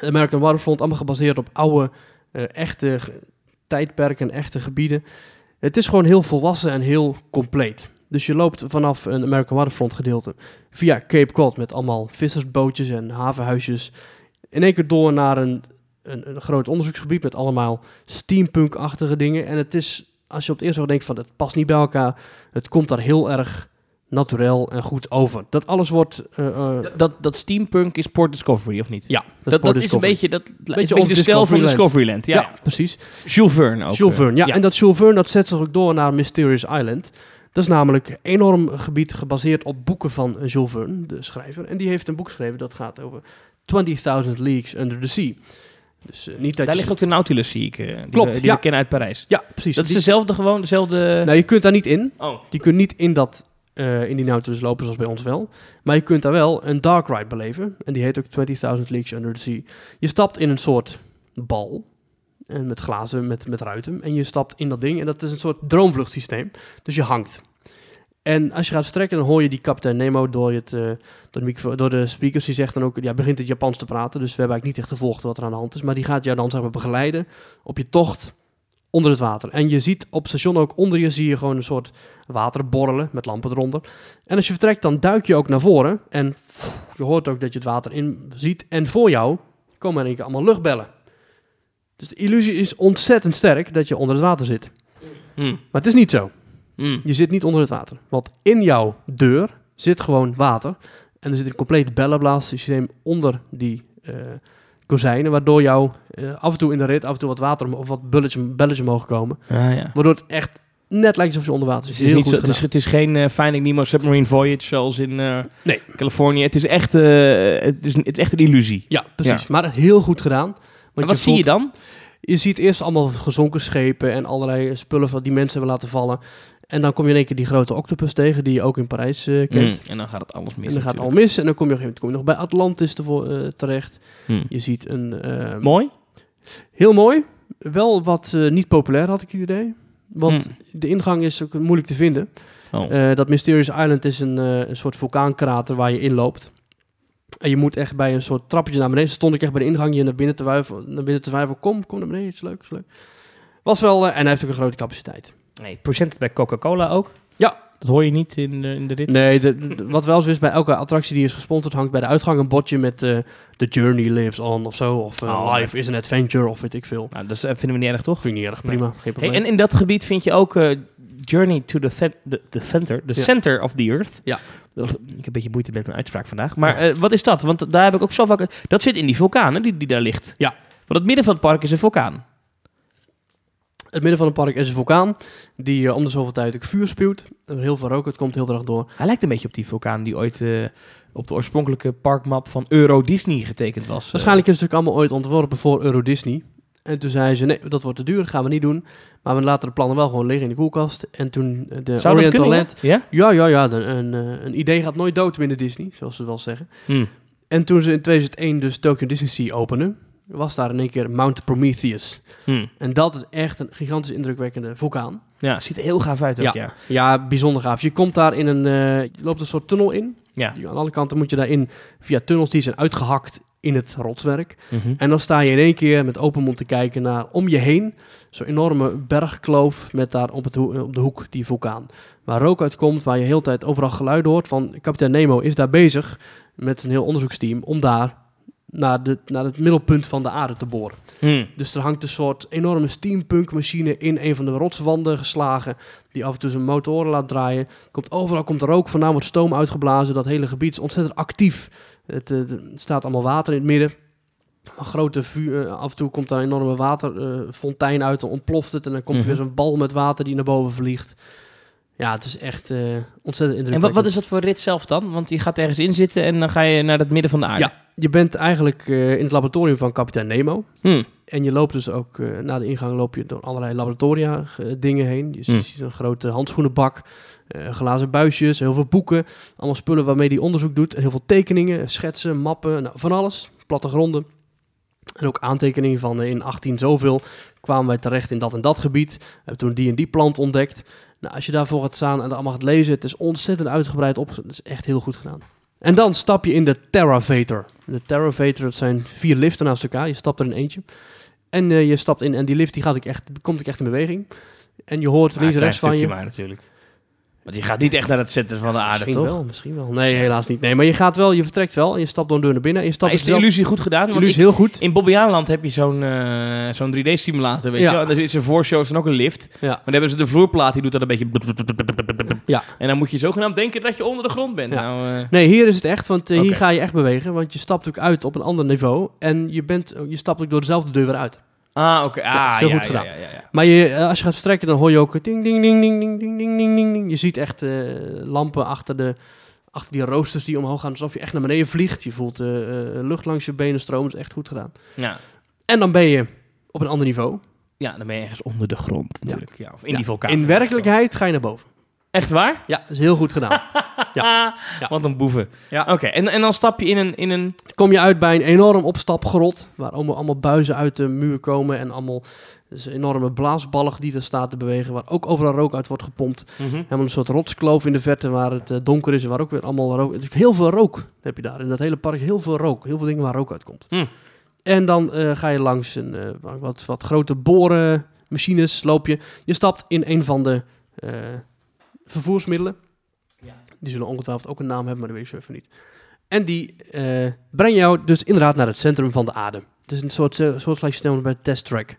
Het American Waterfront, allemaal gebaseerd op oude, eh, echte ge- tijdperken, echte gebieden. Het is gewoon heel volwassen en heel compleet. Dus je loopt vanaf een American Waterfront gedeelte via Cape Cod met allemaal vissersbootjes en havenhuisjes. In één keer door naar een, een, een groot onderzoeksgebied met allemaal steampunk-achtige dingen. En het is, als je op het eerste oog denkt van het past niet bij elkaar, het komt daar heel erg naturel en goed over. Dat alles wordt... eh, eh,
Dat, dat, dat steampunk is Port Discovery, of niet?
ja,
Dat, dat,
Port
is een
Discovery.
beetje, dat, een beetje
old
de stijl van
Discoveryland.
Discoveryland. Ja.
Ja, precies.
Jules Verne ook.
Jules
eh,
Verne, ja, En dat Jules Verne, dat zet zich ook door naar Mysterious Island. Dat is namelijk een enorm gebied gebaseerd op boeken van eh, Jules Verne, de schrijver. En die heeft een boek geschreven dat gaat over 20.000 Leagues Under the Sea. Dus eh, niet dat
Daar
je-
ligt ook de Nautilus, zie ik. eh, die
Klopt,
we, die
ja.
we kennen uit Parijs.
Ja, precies.
Dat is dus, eh,
Die-
dezelfde, gewoon dezelfde...
Nou, je kunt daar niet in.
Oh,
Je kunt niet in, dat, eh, in die Nautilus lopen zoals bij ons wel. Maar je kunt daar wel een dark ride beleven. En die heet ook 20.000 Leagues Under the Sea. Je stapt in een soort bal. En met glazen, met, met ruiten. En je stapt in dat ding. En dat is een soort droomvluchtsysteem. Dus je hangt. En als je gaat vertrekken, dan hoor je die kapitein Nemo door, het, eh, door, de microfo- door de speakers. Die zegt dan ook, ja, begint het Japans te praten. Dus we hebben eigenlijk niet echt gevolgd wat er aan de hand is. Maar die gaat jou dan zeg maar, begeleiden op je tocht onder het water. En je ziet op het station ook onder je, zie je gewoon een soort water borrelen met lampen eronder. En als je vertrekt, dan duik je ook naar voren. En pff, je hoort ook dat je het water in ziet. En voor jou komen in één keer allemaal luchtbellen. Dus de illusie is ontzettend sterk dat je onder het water zit.
hm.
Maar het is niet zo.
Mm.
Je zit niet onder het water. Want in jouw deur zit gewoon water. En er zit een compleet bellenblaassysteem onder die eh, kozijnen. Waardoor jou eh, af en toe in de rit af en toe wat water om- of wat bulletjes belletjes mogen komen.
Ah, ja.
Waardoor het echt net lijkt alsof je onder water
Het
zit.
is,
Heel
niet zo,
goed
het, is,
gedaan.
het is geen eh, Finding Nemo Submarine Voyage zoals in eh,
Nee.
Californië. Het is, echt, eh, het, is, het is echt een illusie.
Ja, precies. Maar heel goed gedaan. Want
Maar wat zie je
voelt-
dan?
Je ziet eerst allemaal gezonken schepen en allerlei spullen van die mensen hebben laten vallen. En dan kom je in één keer die grote octopus tegen, die je ook in Parijs eh, kent.
Mm. En dan gaat het alles mis
En dan gaat het al
natuurlijk.
mis. En dan kom je op een gegeven moment kom je nog bij Atlantis tevo- eh, terecht.
Mm.
Je ziet een... eh,
Mooi.
heel mooi. Wel wat eh, niet populair, had ik het idee. Want
Mm.
de ingang is ook moeilijk te vinden.
Oh.
Eh, dat Mysterious Island is een, eh, een soort vulkaankrater waar je inloopt. En je moet echt bij een soort trappetje naar beneden. Stond ik echt bij de ingang hier naar binnen te wuiven. Naar binnen te wuiven. Kom, kom naar beneden. Het is leuk, het is leuk. Was wel... eh, en hij heeft ook een grote capaciteit.
Nee, procent bij Coca-Cola ook.
Ja.
Dat hoor je niet in de, in de rit.
Nee, de- de- wat wel zo is, bij elke attractie die is gesponsord hangt bij de uitgang een bordje met eh The Journey Lives On of zo. Of eh,
Oh.
Life is an Adventure of weet ik veel.
Nou, dat is- eh, vinden we niet erg, toch?
Vind ik niet erg, prima. Geen
Hey,
probleem.
en in dat gebied vind je ook eh, Journey to the, the, the Center, the
Ja.
center of the Earth.
Ja.
Dat- ik heb een beetje moeite met mijn uitspraak vandaag. Maar eh, wat is dat? Want daar heb ik ook zo vaak... Dat zit in die vulkaan, hè, die, die daar ligt.
Ja.
Want het midden van het park is een vulkaan.
Het midden van het park is een vulkaan die eh, om de zoveel tijd ook vuur spuwt. Er heel veel rook, het komt heel erg door.
Hij lijkt een beetje op die vulkaan die ooit eh, op de oorspronkelijke parkmap van Euro Disney getekend was. Eh,
Waarschijnlijk is het natuurlijk allemaal ooit ontworpen voor Euro Disney. En toen zei ze, nee, dat wordt te duur, dat gaan we niet doen. Maar we laten de plannen wel gewoon liggen in de koelkast. En toen eh, de
zou dat
Oriental
kunnen?
Land...
ja? Ja?
Ja, ja, ja, de- een, eh, een idee gaat nooit dood binnen Disney, zoals ze wel zeggen.
Hm.
En toen ze in 2001 dus Tokyo Disney Sea openden, was daar in één keer Mount Prometheus.
Hm.
En dat is echt een gigantisch indrukwekkende vulkaan.
Ja, ziet er heel gaaf uit ook, ja.
Ja. Ja, bijzonder gaaf. Je komt daar in een, eh, je loopt een soort tunnel in.
Ja.
Je- Aan alle kanten moet je daarin via tunnels die zijn uitgehakt in het rotswerk.
Mhm.
En dan sta je in één keer met open mond te kijken naar om je heen zo'n enorme bergkloof met daar op, het ho- op de hoek die vulkaan. Waar rook uitkomt, waar je heel de tijd overal geluiden hoort van kapitein Nemo is daar bezig met een heel onderzoeksteam om daar naar, de, naar het middelpunt van de aarde te boren.
Hm.
Dus er hangt een soort enorme steampunk machine in een van de rotswanden geslagen. Die af en toe zijn motoren laat draaien. Komt overal komt er rook vandaan, wordt stoom uitgeblazen. Dat hele gebied is ontzettend actief. Het, eh, er staat allemaal water in het midden. Een grote vuur, eh, af en toe komt daar een enorme waterfontein uit. Dan ontploft het en dan komt er
Mhm.
weer zo'n bal met water die naar boven vliegt. Ja, het is echt eh, ontzettend indrukwekkend.
En wat, wat is dat voor rit zelf dan? Want je gaat ergens in zitten en dan ga je naar het midden van de aarde.
Ja, je bent eigenlijk eh, in het laboratorium van kapitein Nemo.
Hm.
En je loopt dus ook, eh, na de ingang loop je door allerlei laboratoria eh, dingen heen. Dus
Hmm.
je ziet een grote handschoenenbak, eh, glazen buisjes, heel veel boeken. Allemaal spullen waarmee hij onderzoek doet. En heel veel tekeningen, schetsen, mappen, nou, van alles. Plattegronden. En ook aantekeningen van eh, in 18 zoveel kwamen wij terecht in dat en dat gebied. We hebben toen die en die plant ontdekt. Nou, als je daarvoor gaat staan en dat allemaal gaat lezen, het is ontzettend uitgebreid op. Het is echt heel goed gedaan. En dan stap je in de Terravator. De Terravator, dat zijn vier liften naast elkaar. Je stapt er in eentje. En eh, je stapt in en die lift die gaat ik echt, komt ik echt in beweging. En je hoort links en rechts van je.
maar natuurlijk. Want je gaat niet echt naar het centrum van de aarde,
misschien
toch?
wel, misschien wel. Nee, helaas niet. Nee, maar je gaat wel, je vertrekt wel en je stapt door een deur naar binnen. En je
Maar
stapt
is
dus
de
wel-
illusie goed gedaan? Want
illusie
ik-
heel goed.
in Bobbejaanland heb je zo'n eh, zo'n 3D-simulator, weet
Ja.
je wel. En daar is er voor shows en ook een lift.
Ja.
Maar dan hebben ze de vloerplaat, die doet dat een beetje...
Ja.
En dan moet je zogenaamd denken dat je onder de grond bent.
Ja.
Nou, eh,
Nee, hier is het echt, want eh,
Oké.
hier ga je echt bewegen. Want je stapt ook uit op een ander niveau. En je, bent, eh, je stapt ook door dezelfde deur weer uit.
Ah, oké. Ah,
Ja, is heel
ja,
goed
ja,
gedaan.
Ja, ja, ja.
Maar je, eh, als je gaat vertrekken, dan hoor je ook ding, ding, ding, ding, ding, ding, ding, ding, ding, ding. Je ziet echt eh, lampen achter, de, achter die roosters die omhoog gaan, alsof je echt naar beneden vliegt. Je voelt eh, eh, lucht langs je benen stromen, dat is echt goed gedaan.
Ja.
En dan ben je op een ander niveau.
Ja, dan ben je ergens onder de grond natuurlijk. Ja. Of in
Ja.
die vulkaan.
In werkelijkheid ga je naar boven.
Echt waar?
Ja, dat is heel goed gedaan.
Ja.
Ja.
Wat een boeven.
Ja.
Oké, en, en dan stap je in een... In een...
kom je uit bij een enorm opstapgrot. Waar allemaal, allemaal buizen uit de muur komen. En allemaal dus enorme blaasballen die er staat te bewegen. Waar ook overal rook uit wordt gepompt. Helemaal een soort rotskloof in de verte waar het eh, donker is. En waar ook weer allemaal rook. Dus heel veel rook heb je daar. In dat hele park heel veel rook. Heel veel dingen waar rook uit komt.
Hm.
En dan eh, ga je langs een, eh, wat, wat grote borenmachines. Loop je. Je stapt in een van de eh, vervoersmiddelen. Die zullen ongetwijfeld ook een naam hebben, maar dat weet ik zo even niet. En die eh, brengen jou dus inderdaad naar het centrum van de aarde. Het is een soort, eh, soort gelijk systeem als bij de test track.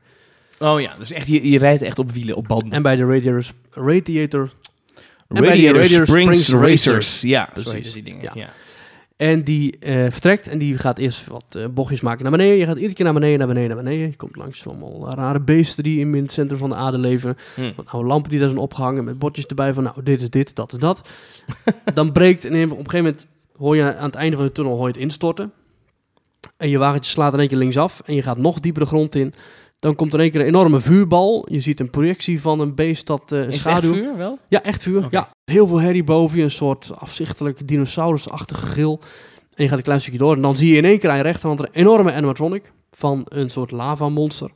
Oh ja, dus echt, je, je rijdt echt op wielen, op banden.
En bij de radiator, radiator En bij die
Radiator,
Radiator
Springs,
Springs
Racers.
Racers.
Ja,
Precies.
zo heette die dingen.
Ja.
Ja.
En die eh, vertrekt en die gaat eerst wat eh, bochtjes maken naar beneden. Je gaat iedere keer naar beneden, naar beneden, naar beneden. Je komt langs allemaal eh, rare beesten die in het centrum van de aarde leven.
Hm.
Wat oude lampen die daar zijn opgehangen met bordjes erbij van nou, dit is dit, dat is dat. Dan breekt en op een gegeven moment hoor je aan het einde van de tunnel hoor je het instorten. En je wagentje slaat in één keer linksaf en je gaat nog dieper de grond in. Dan komt in één keer een enorme vuurbal. Je ziet een projectie van een beest dat eh, een
Is het echt
schaduw...
vuur wel?
Ja, echt vuur.
Oké.
Ja. Heel veel herrie boven je, een soort afzichtelijk dinosaurusachtige gril. En je gaat een klein stukje door en dan zie je in één keer aan je rechterhand een enorme animatronic van een soort lavamonster.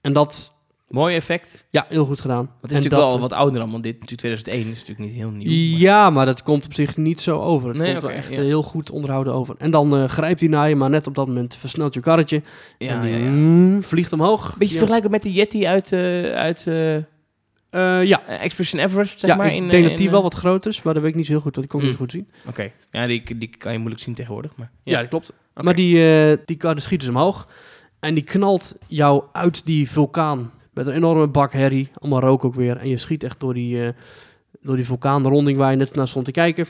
En dat,
Mooi effect.
ja, heel goed gedaan.
Want het is
en
natuurlijk wel
dat-
wat ouder dan, want dit natuurlijk 2001 is natuurlijk niet heel nieuw. maar-
Ja, maar dat komt op zich niet zo over. Het
Nee,
komt wel
oké,
echt
ja.
eh, heel goed onderhouden over. En dan eh, grijpt hij naar je, maar net op dat moment versnelt je karretje. en
ja,
die
ja, ja.
mm, vliegt omhoog.
Beetje
ja.
vergelijkbaar met de Yeti uit, eh, uit eh, eh,
Eh, ja.
Expedition Everest, zeg
ja,
maar.
ik
in, eh,
denk dat
in,
die
eh,
wel wat groter is, maar dat weet ik niet zo heel goed, want ik kon het
Mm.
niet zo goed zien.
Oké, ja, die, die kan je moeilijk zien tegenwoordig. Maar,
Ja, dat klopt. Maar die, eh, die kar die schiet dus omhoog. En die knalt jou uit die vulkaan. Met een enorme bak herrie. Allemaal rook ook weer. En je schiet echt door die, eh, door die vulkaanronding waar je net naar stond te kijken.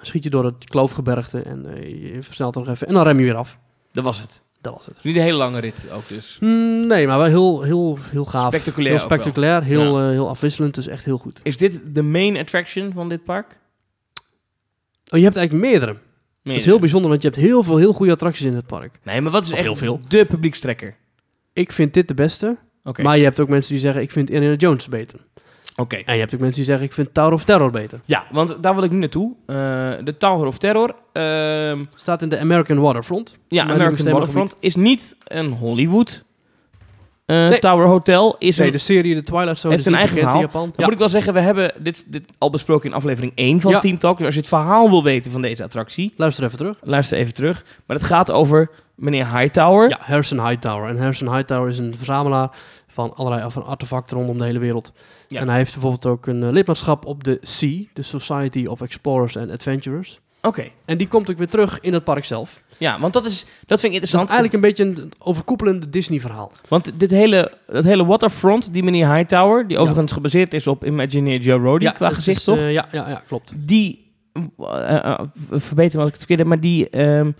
Schiet je door het kloofgebergte. En eh, je versnelt nog even. En dan rem je weer af.
dat was het.
Dat was het.
Niet een hele lange rit ook dus.
Hmm, nee, maar wel heel, heel, heel gaaf.
Spectaculair
Heel
ook wel.
spectaculair. Heel, eh, heel afwisselend. Dus echt heel goed.
Is dit de main attraction van dit park?
Oh, je hebt eigenlijk meerdere. Dat is heel bijzonder, want je hebt heel veel heel goede attracties in het park.
Nee, maar wat is
Of
echt
heel veel.
de publiekstrekker?
Ik vind dit de beste.
Oké,
Maar je hebt ook mensen die zeggen, ik vind Indiana Jones beter.
oké.
En je hebt ook mensen die zeggen, ik vind Tower of Terror beter.
Ja, want daar wil ik nu naartoe. Eh, de Tower of Terror. ehm,
Staat in de American Waterfront.
ja,
Mijn
American
lievelingsthema
Waterfront is niet een Hollywood eh,
Nee.
Tower Hotel. Is
Nee, dus-
een,
de serie The Twilight Zone
Heeft
is
een
niet
eigen
bekend in
verhaal.
Japan.
Dan moet ik wel zeggen, we hebben dit, dit al besproken in aflevering 1 van
Ja.
Theme Talk. Dus als je het verhaal wil weten van deze attractie,
Luister even terug.
luister even terug. Maar het gaat over meneer Hightower.
Ja, Harrison Hightower. En Harrison Hightower is een verzamelaar van allerlei van artefacten rondom de hele wereld.
Ja.
En hij heeft bijvoorbeeld ook een eh, lidmaatschap op de SEA, de Society of Explorers and Adventurers.
Oké.
En die komt ook weer terug in het park zelf. Dus
Ja, want dat, is, dat vind ik
dat is
interessant.
eigenlijk een beetje een overkoepelende Disney-verhaal.
Want dit hele, dat hele waterfront, die meneer Hightower, die overigens gebaseerd is op Imagineer Joe Roddy qua
dat
gezicht,
is,
toch?
eh, ja, ja, ja, klopt.
die, eh, eh, verbeter me als ik het verkeerd heb, maar die, ehm,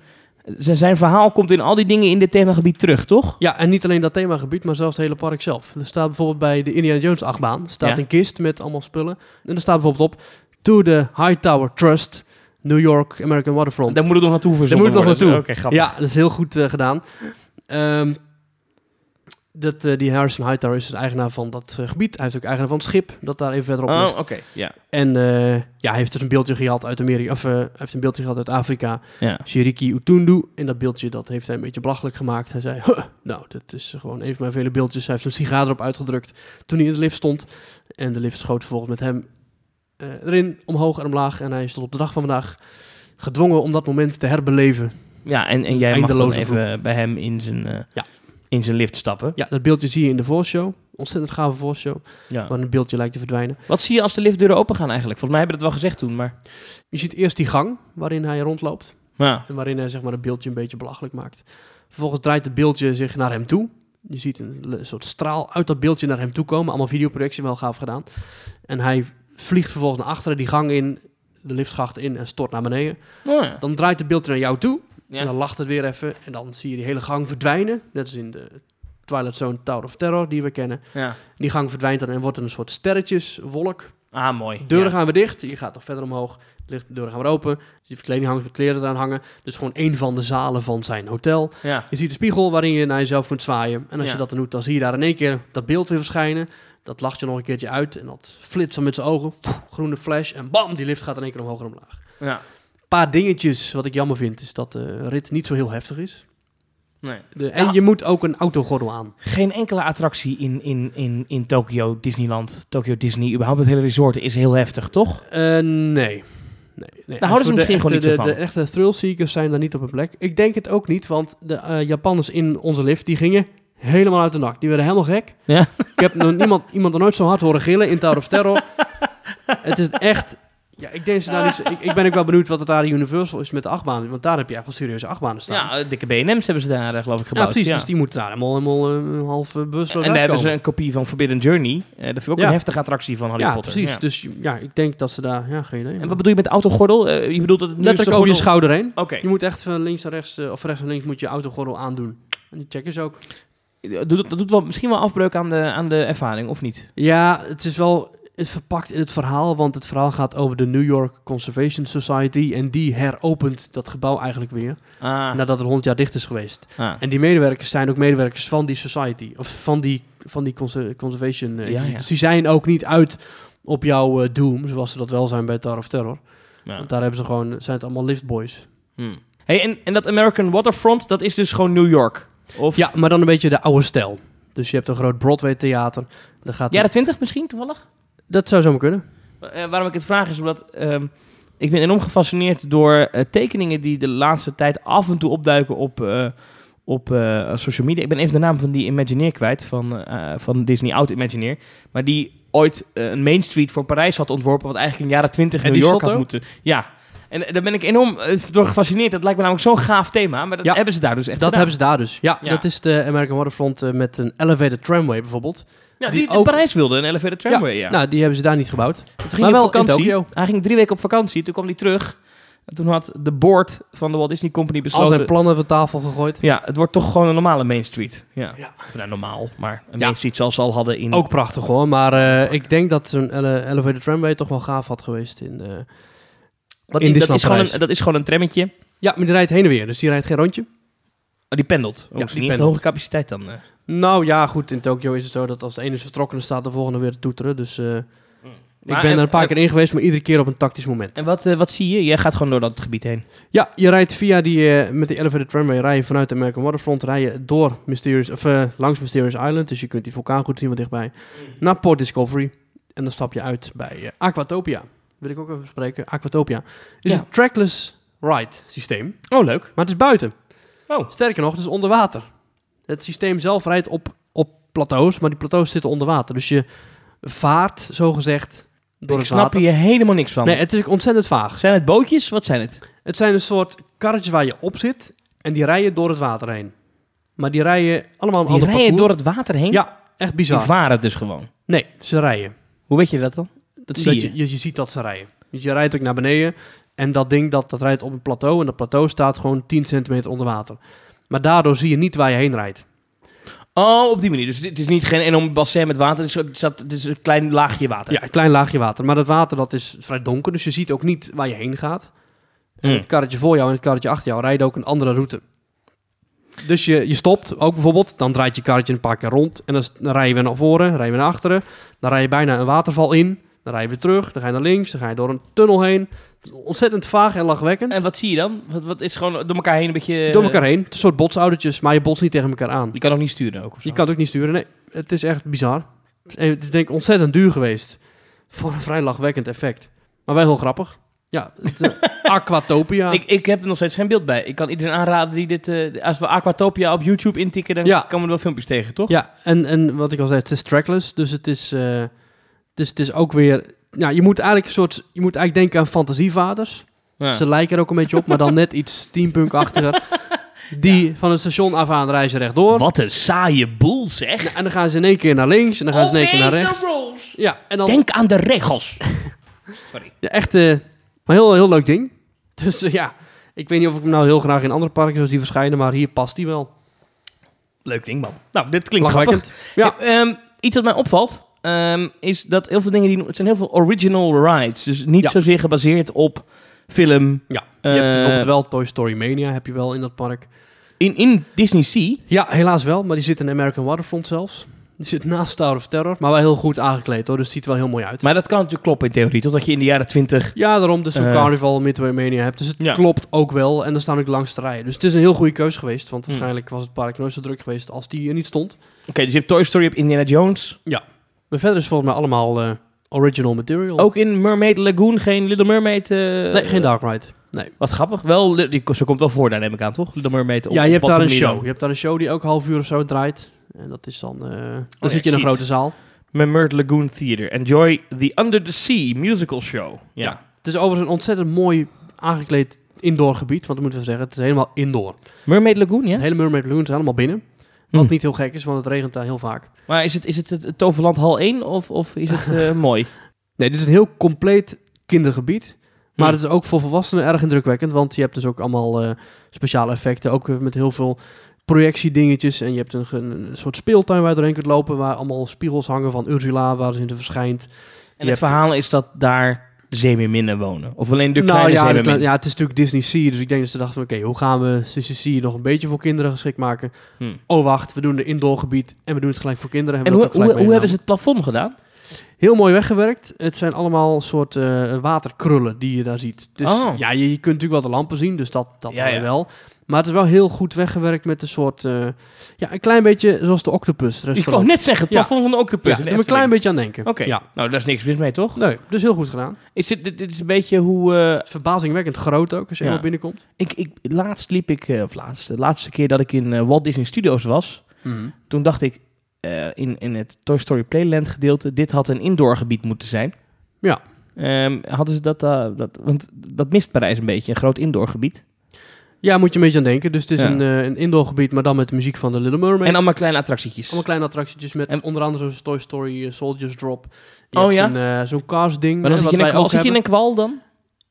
zijn, zijn verhaal komt in al die dingen in dit themagebied terug, toch?
Ja, en niet alleen dat themagebied, maar zelfs het hele park zelf. Er staat bijvoorbeeld bij de Indiana Jones achtbaan staat
Ja.
een kist met allemaal spullen. En er staat bijvoorbeeld op, to the Hightower Trust, New York American Waterfront.
Daar moet het nog naartoe verzonnen
Daar moet het nog
worden.
naartoe.
Oké, grappig.
Ja, dat is heel goed eh, gedaan. Ehm, dat, eh, die Harrison Hightower is dus eigenaar van dat eh, gebied. Hij is ook eigenaar van het schip dat daar even verderop
Oh,
ligt.
oké. Ja.
En eh, ja, hij heeft dus een beeldje gehad uit Amerika, of eh, hij heeft een beeldje gehad uit Afrika.
ja.
Shiriki Utundu. En dat beeldje dat heeft hij een beetje belachelijk gemaakt. Hij zei, "Huh, nou, dat is gewoon een van mijn vele beeldjes. Hij heeft een sigaar erop uitgedrukt toen hij in de lift stond. En de lift schoot vervolgens met hem eh, erin, omhoog en omlaag. En hij stond op de dag van vandaag gedwongen om dat moment te herbeleven.
Ja, en, en jij mag dan
Eindeloze
even bij hem in zijn, eh,
Ja.
in zijn lift stappen.
Ja, dat beeldje zie je in de voorshow. Ontzettend gave voorshow.
Ja.
Waar een beeldje lijkt te verdwijnen.
Wat zie je als de liftdeuren open gaan eigenlijk? Volgens mij hebben we dat wel gezegd toen, maar...
Je ziet eerst die gang waarin hij rondloopt.
Ja.
En waarin hij zeg maar, het beeldje een beetje belachelijk maakt. Vervolgens draait het beeldje zich naar hem toe. Je ziet een le- soort straal uit dat beeldje naar hem toe komen. Allemaal videoprojectie, wel gaaf gedaan. En hij vliegt vervolgens naar achteren die gang in, de liftschacht in en stort naar beneden.
Oh, ja.
Dan draait het beeldje naar jou toe.
Ja.
En dan lacht het weer even. En dan zie je die hele gang verdwijnen. Net als in de Twilight Zone Tower of Terror die we kennen.
Ja.
Die gang verdwijnt dan en wordt een soort sterretjeswolk.
Ah, mooi.
Deuren
ja.
gaan weer dicht. Je gaat nog verder omhoog. Ligt- De deuren gaan weer open. Dus die verkledinghangers met kleren eraan hangen. Dus gewoon één van de zalen van zijn hotel.
Ja.
Je ziet de spiegel waarin je naar jezelf kunt zwaaien. En als
Ja.
je dat dan doet, dan zie je daar in één keer dat beeld weer verschijnen. Dat lacht je nog een keertje uit. En dat flitst dan met zijn ogen. Pff, groene flash. En bam, die lift gaat in één keer omhoog en omlaag.
Ja.
Een paar dingetjes wat ik jammer vind, is dat de rit niet zo heel heftig is.
Nee.
De, en
Ja.
je moet ook een autogordel aan.
Geen enkele attractie in, in, in, in Tokyo Disneyland, Tokyo Disney, überhaupt het hele resort is heel heftig, toch?
Eh, nee. Nee,
houden
nee.
ze
Voor de
misschien gewoon
echte-
niet
de,
zo van.
de echte thrillseekers zijn daar niet op hun plek. Ik denk het ook niet, want de eh, Japanners in onze lift, die gingen helemaal uit de nacht. Die werden helemaal gek.
Ja.
Ik heb nog niemand, iemand er nooit zo hard horen gillen in Tower of Terror. het is echt... Ja, ik denk ze daar iets. Ik, ik ben ook wel benieuwd wat het daar in Universal is met de achtbanen. Want daar heb je echt wel serieuze achtbanen staan.
Ja, eh, dikke B&M's hebben ze daar, eh, geloof ik, gebouwd.
Ja, precies. Dus die moeten daar helemaal, helemaal eh, een half eh, bewust wel
En daar hebben ze
uitkomen.
een kopie van Forbidden Journey. Eh, dat vind ik ook
Ja.
een heftige attractie van Harry
Ja,
Potter.
precies.
Ja.
Dus ja, ik denk dat ze daar... Ja, geen idee.
En
man.
wat bedoel je met autogordel? Eh, je bedoelt dat het nu is de
Letterlijk over
gordel-
je schouder heen.
Oké.
Je moet echt van links naar rechts, eh, of rechts naar links, moet je autogordel aandoen. En die checkers ook. eh,
Dat doet, dat doet wel, misschien wel afbreuk aan de, aan de ervaring, of niet?
Ja, het is wel het verpakt in het verhaal, want het verhaal gaat over de New York Conservation Society. En die heropent dat gebouw eigenlijk weer,
Ah,
nadat het 100 jaar dicht is geweest.
ah.
En die medewerkers zijn ook medewerkers van die society, of van die, van die conser- conservation. eh,
Ja, ja.
Dus die zijn ook niet uit op jouw eh, doom, zoals ze dat wel zijn bij Tower of Terror.
Ja.
Want daar hebben ze gewoon, zijn het allemaal liftboys.
Hmm. Hey, en, en dat American Waterfront, dat is dus gewoon New York? Of
Ja, maar dan een beetje de oude stijl. Dus je hebt een groot Broadway theater. Daar gaat
jaren 20 misschien, toevallig?
Dat zou zomaar kunnen.
Eh, waarom ik het vraag is omdat ehm, ik ben enorm gefascineerd door eh, tekeningen die de laatste tijd af en toe opduiken op, eh, op eh, social media. Ik ben even de naam van die Imagineer kwijt, van, eh, van Disney Out Imagineer. Maar die ooit eh, een Main Street voor Parijs had ontworpen, wat eigenlijk in jaren 20
En
New
die
York had
Sotto?
moeten. Ja. En eh, daar ben ik enorm eh, door gefascineerd. Dat lijkt me namelijk zo'n gaaf thema, maar dat
Ja.
hebben ze daar dus echt
Dat
gedaan.
hebben ze daar dus. Ja,
Ja.
dat is de American Waterfront eh, met een elevated tramway bijvoorbeeld.
Ja, die,
die
die
ook-
Parijs wilde, een elevated tramway, ja.
Nou, die hebben ze daar niet gebouwd.
Toen ging
Maar
hij
wel
op
in
vakantie.
Tokio.
Hij ging drie weken op vakantie. Toen kwam hij terug. En toen had de board van de Walt Disney Company
Al
besloten...
zijn plannen van tafel gegooid.
ja, het wordt toch gewoon een normale Main Street. Ja.
Ja.
Of nou, normaal, maar een
Ja.
Main Street zoals ze al hadden in...
Ook prachtig hoor, maar eh, ik denk dat zo'n ele- elevated tramway toch wel gaaf had geweest. In,
Want
eh, in
die- dat,
Disneyland
is gewoon
Parijs.
een, dat is gewoon een trammetje. Oh,
Ja, maar die rijdt heen en weer, dus die rijdt geen rondje.
die pendelt. Oh,
Ja,
die
die
niet
pendelt.
hoge capaciteit dan. eh.
Nou ja, goed, in Tokio is het zo dat als de ene is vertrokken, dan staat de volgende weer te toeteren. Dus eh, ik
Maar
ben
en-
er een paar
en-
keer in geweest, maar iedere keer op een tactisch moment.
En wat, eh, wat zie je? Jij gaat gewoon door dat gebied heen.
Ja, je rijdt via die, eh, met die elevated tramway rij je vanuit de American Waterfront, rij je door Mysterious, of, eh, langs Mysterious Island, dus je kunt die vulkaan goed zien wat dichtbij,
Mhm.
naar Port Discovery. En dan stap je uit bij eh, Aquatopia. Wil ik ook even spreken. Aquatopia is
Ja.
een trackless ride systeem,
Oh, leuk.
maar het is buiten.
Oh.
Sterker nog, het is onder water. Het systeem zelf rijdt op, op plateaus, maar die plateaus zitten onder water. Dus je vaart, zogezegd, door
ik
het
snap
water.
hier helemaal niks van.
Nee, het is ontzettend vaag.
Zijn het bootjes? Wat zijn het?
Het zijn een soort karretjes waar je op zit en die rijden door het water heen. Maar die rijden allemaal een
Die
ander
rijden door het water heen?
Ja, echt
Die
bizar.
varen dus gewoon.
Nee, ze rijden.
Hoe weet je dat dan? Dat zie je.
je. je. ziet dat ze rijden. Dus je rijdt ook naar beneden en dat ding dat, dat rijdt op een plateau en dat plateau staat gewoon 10 centimeter onder water. Maar daardoor zie je niet waar je heen rijdt.
Oh, op die manier. Dus het is niet geen enorm bassin met water. Het is, het zat- het is een klein laagje water.
Ja, een klein laagje water. Maar dat water dat is vrij donker, dus je ziet ook niet waar je heen gaat. En
Hmm.
het karretje voor jou en het karretje achter jou rijden ook een andere route. Dus je, je stopt ook bijvoorbeeld, dan draait je karretje een paar keer rond. En dan, s- dan rij je weer naar voren, rij je weer naar achteren. Dan rij je bijna een waterval in. Dan rij je weer terug, dan ga je naar links, dan ga je door een tunnel heen. Het is Ontzettend vaag en lachwekkend.
En wat zie je dan? Wat, wat is gewoon door elkaar heen een beetje... eh,
door elkaar heen. Het is een soort botsoudertjes, maar je botst niet tegen elkaar aan.
Je kan ook niet sturen ook of zo.
Je kan het ook niet sturen, nee. Het is echt bizar. En Het is denk ik ontzettend duur geweest. Voor een vrij lachwekkend effect. Maar wel heel grappig. Ja, het, eh, Aquatopia.
Ik, ik heb er nog steeds geen beeld bij. Ik kan iedereen aanraden die dit... eh, als we Aquatopia op YouTube intikken, dan
Ja.
komen er wel filmpjes tegen, toch?
Ja, en, en wat ik al zei, het is trackless. Dus het is, eh, het is, het is ook weer... Ja, je moet eigenlijk een soort... Je moet eigenlijk denken aan fantasievaders.
Ja.
Ze lijken er ook een beetje op, maar dan net iets steampunk-achtiger. Die van het station af aan reizen rechtdoor.
Wat een saaie boel, zeg.
En dan gaan ze in één keer naar links en dan gaan ze in één keer naar
Obey the
rechts.
rules.
Ja, en dan
Denk aan de regels. Sorry.
Ja, echt eh, maar heel, heel leuk ding. Dus eh, ja, ik weet niet of ik hem nou heel graag in andere parken zoals die verschijnen, maar hier past die wel.
Leuk ding, man. Nou, dit klinkt grappig.
Lachwekkend.
Ja. ehm, iets wat mij opvalt, ehm, is dat heel veel dingen die het zijn heel veel original rides, dus niet
Ja.
zozeer gebaseerd op film.
Ja, je hebt
Eh,
bijvoorbeeld wel Toy Story Mania, heb je wel in dat park.
In, in Disney Sea.
Ja, helaas wel, maar die zit in American Waterfront zelfs. Die zit naast Tower of Terror, maar wel heel goed aangekleed hoor, dus het ziet er wel heel mooi uit.
Maar dat kan natuurlijk kloppen in theorie, totdat je in de jaren twintig.
ja, daarom dus een
Eh.
Carnival Midway Mania hebt, dus het
Ja.
klopt ook wel. En er staan ook langs te rijden, dus het is een heel goede keuze geweest, want
Hm.
waarschijnlijk was het park nooit zo druk geweest als die er niet stond.
Oké, dus je hebt Toy Story, je hebt Indiana Jones.
Maar verder is volgens mij allemaal eh, original material.
Ook in Mermaid Lagoon geen Little Mermaid. eh,
nee, geen Dark Ride. Nee.
Wat grappig. Wel, li- die, ze komt wel voor, daar neem ik aan, toch? Little Mermaid. op-
ja,
op
je hebt
wat
daar
voor
een
manier
show.
dan.
Je hebt daar een show die ook een half uur of zo draait. En dat is dan... eh, dan
Oh ja,
zit
ik
je in
zie
een grote
het.
zaal.
Mermaid Lagoon Theater. Enjoy the Under the Sea musical show. Ja.
Ja. Het is overigens een ontzettend mooi aangekleed indoor gebied. Want dat moeten we zeggen, het is helemaal indoor.
Mermaid Lagoon, ja?
Het hele Mermaid Lagoon is helemaal binnen. Wat
Hmm.
niet heel gek is, want het regent daar heel vaak.
Maar is het, is het, het, het Toverland Hal 1 of, of is het eh, mooi?
Nee, dit is een heel compleet kindergebied. Maar
Hmm.
het is ook voor volwassenen erg indrukwekkend. Want je hebt dus ook allemaal eh, speciale effecten. Ook eh, met heel veel projectiedingetjes. En je hebt een, ge- een soort speeltuin waar je doorheen kunt lopen. Waar allemaal spiegels hangen van Ursula, waar ze in verschijnt.
En
Je
het
hebt-
verhaal is dat daar de zeemeerminnen wonen. Of alleen de
nou
kleine
ja, de
zeemeermin.
kleine- ja, het is natuurlijk Disney Sea. Dus ik denk dat ze dachten, oké, hoe gaan we CCC nog een beetje voor kinderen geschikt maken?
Hmm.
Oh, wacht, we doen de indoorgebied en we doen het gelijk voor kinderen.
En
we
hoe,
dat ook
hoe,
gelijk
hoe hebben ze
meegenomen.
het plafond gedaan?
Heel mooi weggewerkt. Het zijn allemaal soort eh, waterkrullen die je daar ziet. Dus
Oh.
ja, je, je kunt natuurlijk wel de lampen zien, dus dat, dat
Ja,
dan
ja.
wel. Maar het is wel heel goed weggewerkt met een soort... eh, ja, een klein beetje zoals de octopus
Ik wou
restaurant.
net zeggen, het
Ja.
plafond van de octopus. in
ja, daar
de
moet ik een klein
Efteling.
beetje aan denken.
Oké,
Ja.
nou daar is niks mis mee, toch?
Nee, dus heel goed gedaan.
Is dit, dit, dit is een beetje hoe... eh,
Verbazingwekkend groot ook, als je
Ja.
helemaal binnenkomt.
ik, ik, laatst liep ik, eh, of laatst, de laatste keer dat ik in eh, Walt Disney Studios was, toen dacht ik eh, in, in het Toy Story Playland gedeelte, dit had een indoor gebied moeten zijn.
Ja.
Ehm, hadden ze dat, eh, dat, want dat mist Parijs een beetje, een groot indoor gebied.
Ja, moet je een beetje aan denken. Dus het is
Ja.
een, eh, een indoorgebied, maar dan met de muziek van de Little Mermaid.
En allemaal kleine attractietjes.
allemaal kleine attractietjes met
En-
onder andere zo'n Toy Story eh, Soldiers Drop.
Oh
hebt
ja?
een, eh, zo'n Cars ding.
Maar dan
hè,
zit je, in
wat
een
wij
kwal,
ook
zit je in
hebben.
een kwal dan?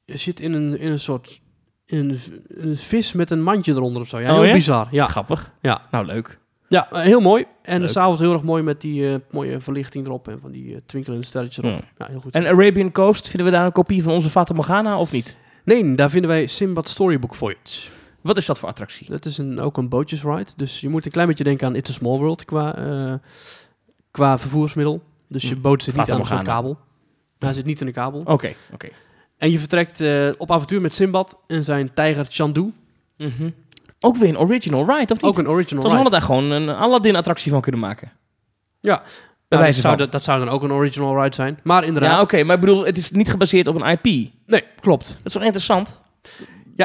Je zit in een, in een soort in een, v- een vis met een mandje eronder of zo. Ja,
Oh
heel
ja?
bizar. Ja,
Grappig.
Ja.
Nou, leuk.
ja eh, heel mooi. En
Leuk.
s'avonds heel erg mooi met die eh, mooie verlichting erop en van die eh, twinkelende sterretjes erop.
Ja.
Ja, heel goed.
Hmm. En Arabian Coast, vinden we daar een kopie van onze Fata Morgana of niet?
nee, daar vinden wij Simbad Storybook Voyage.
Wat is dat voor attractie?
Dat is een, ook een bootjesride. Dus je moet een klein beetje denken aan It's a Small World qua, eh, qua vervoersmiddel. Dus je
Hm.
boot zit niet
Fata
aan een soort
Morgana.
kabel. Hij zit niet in een kabel.
Oké, oké.
En je vertrekt eh, op avontuur met Simbad en zijn tijger Chandu.
Mhm. Ook weer een original ride, of niet?
Ook een original
Dan
ride.
hadden daar gewoon een Aladdin-attractie van kunnen maken.
Ja.
Bij
Nou, dat,
wijze
zou,
van.
dat, dat zou dan ook een original ride zijn. Maar
ja,
inderdaad.
oké, maar ik bedoel, het is niet gebaseerd op een IP.
Nee, klopt.
Dat is wel interessant.
Ja,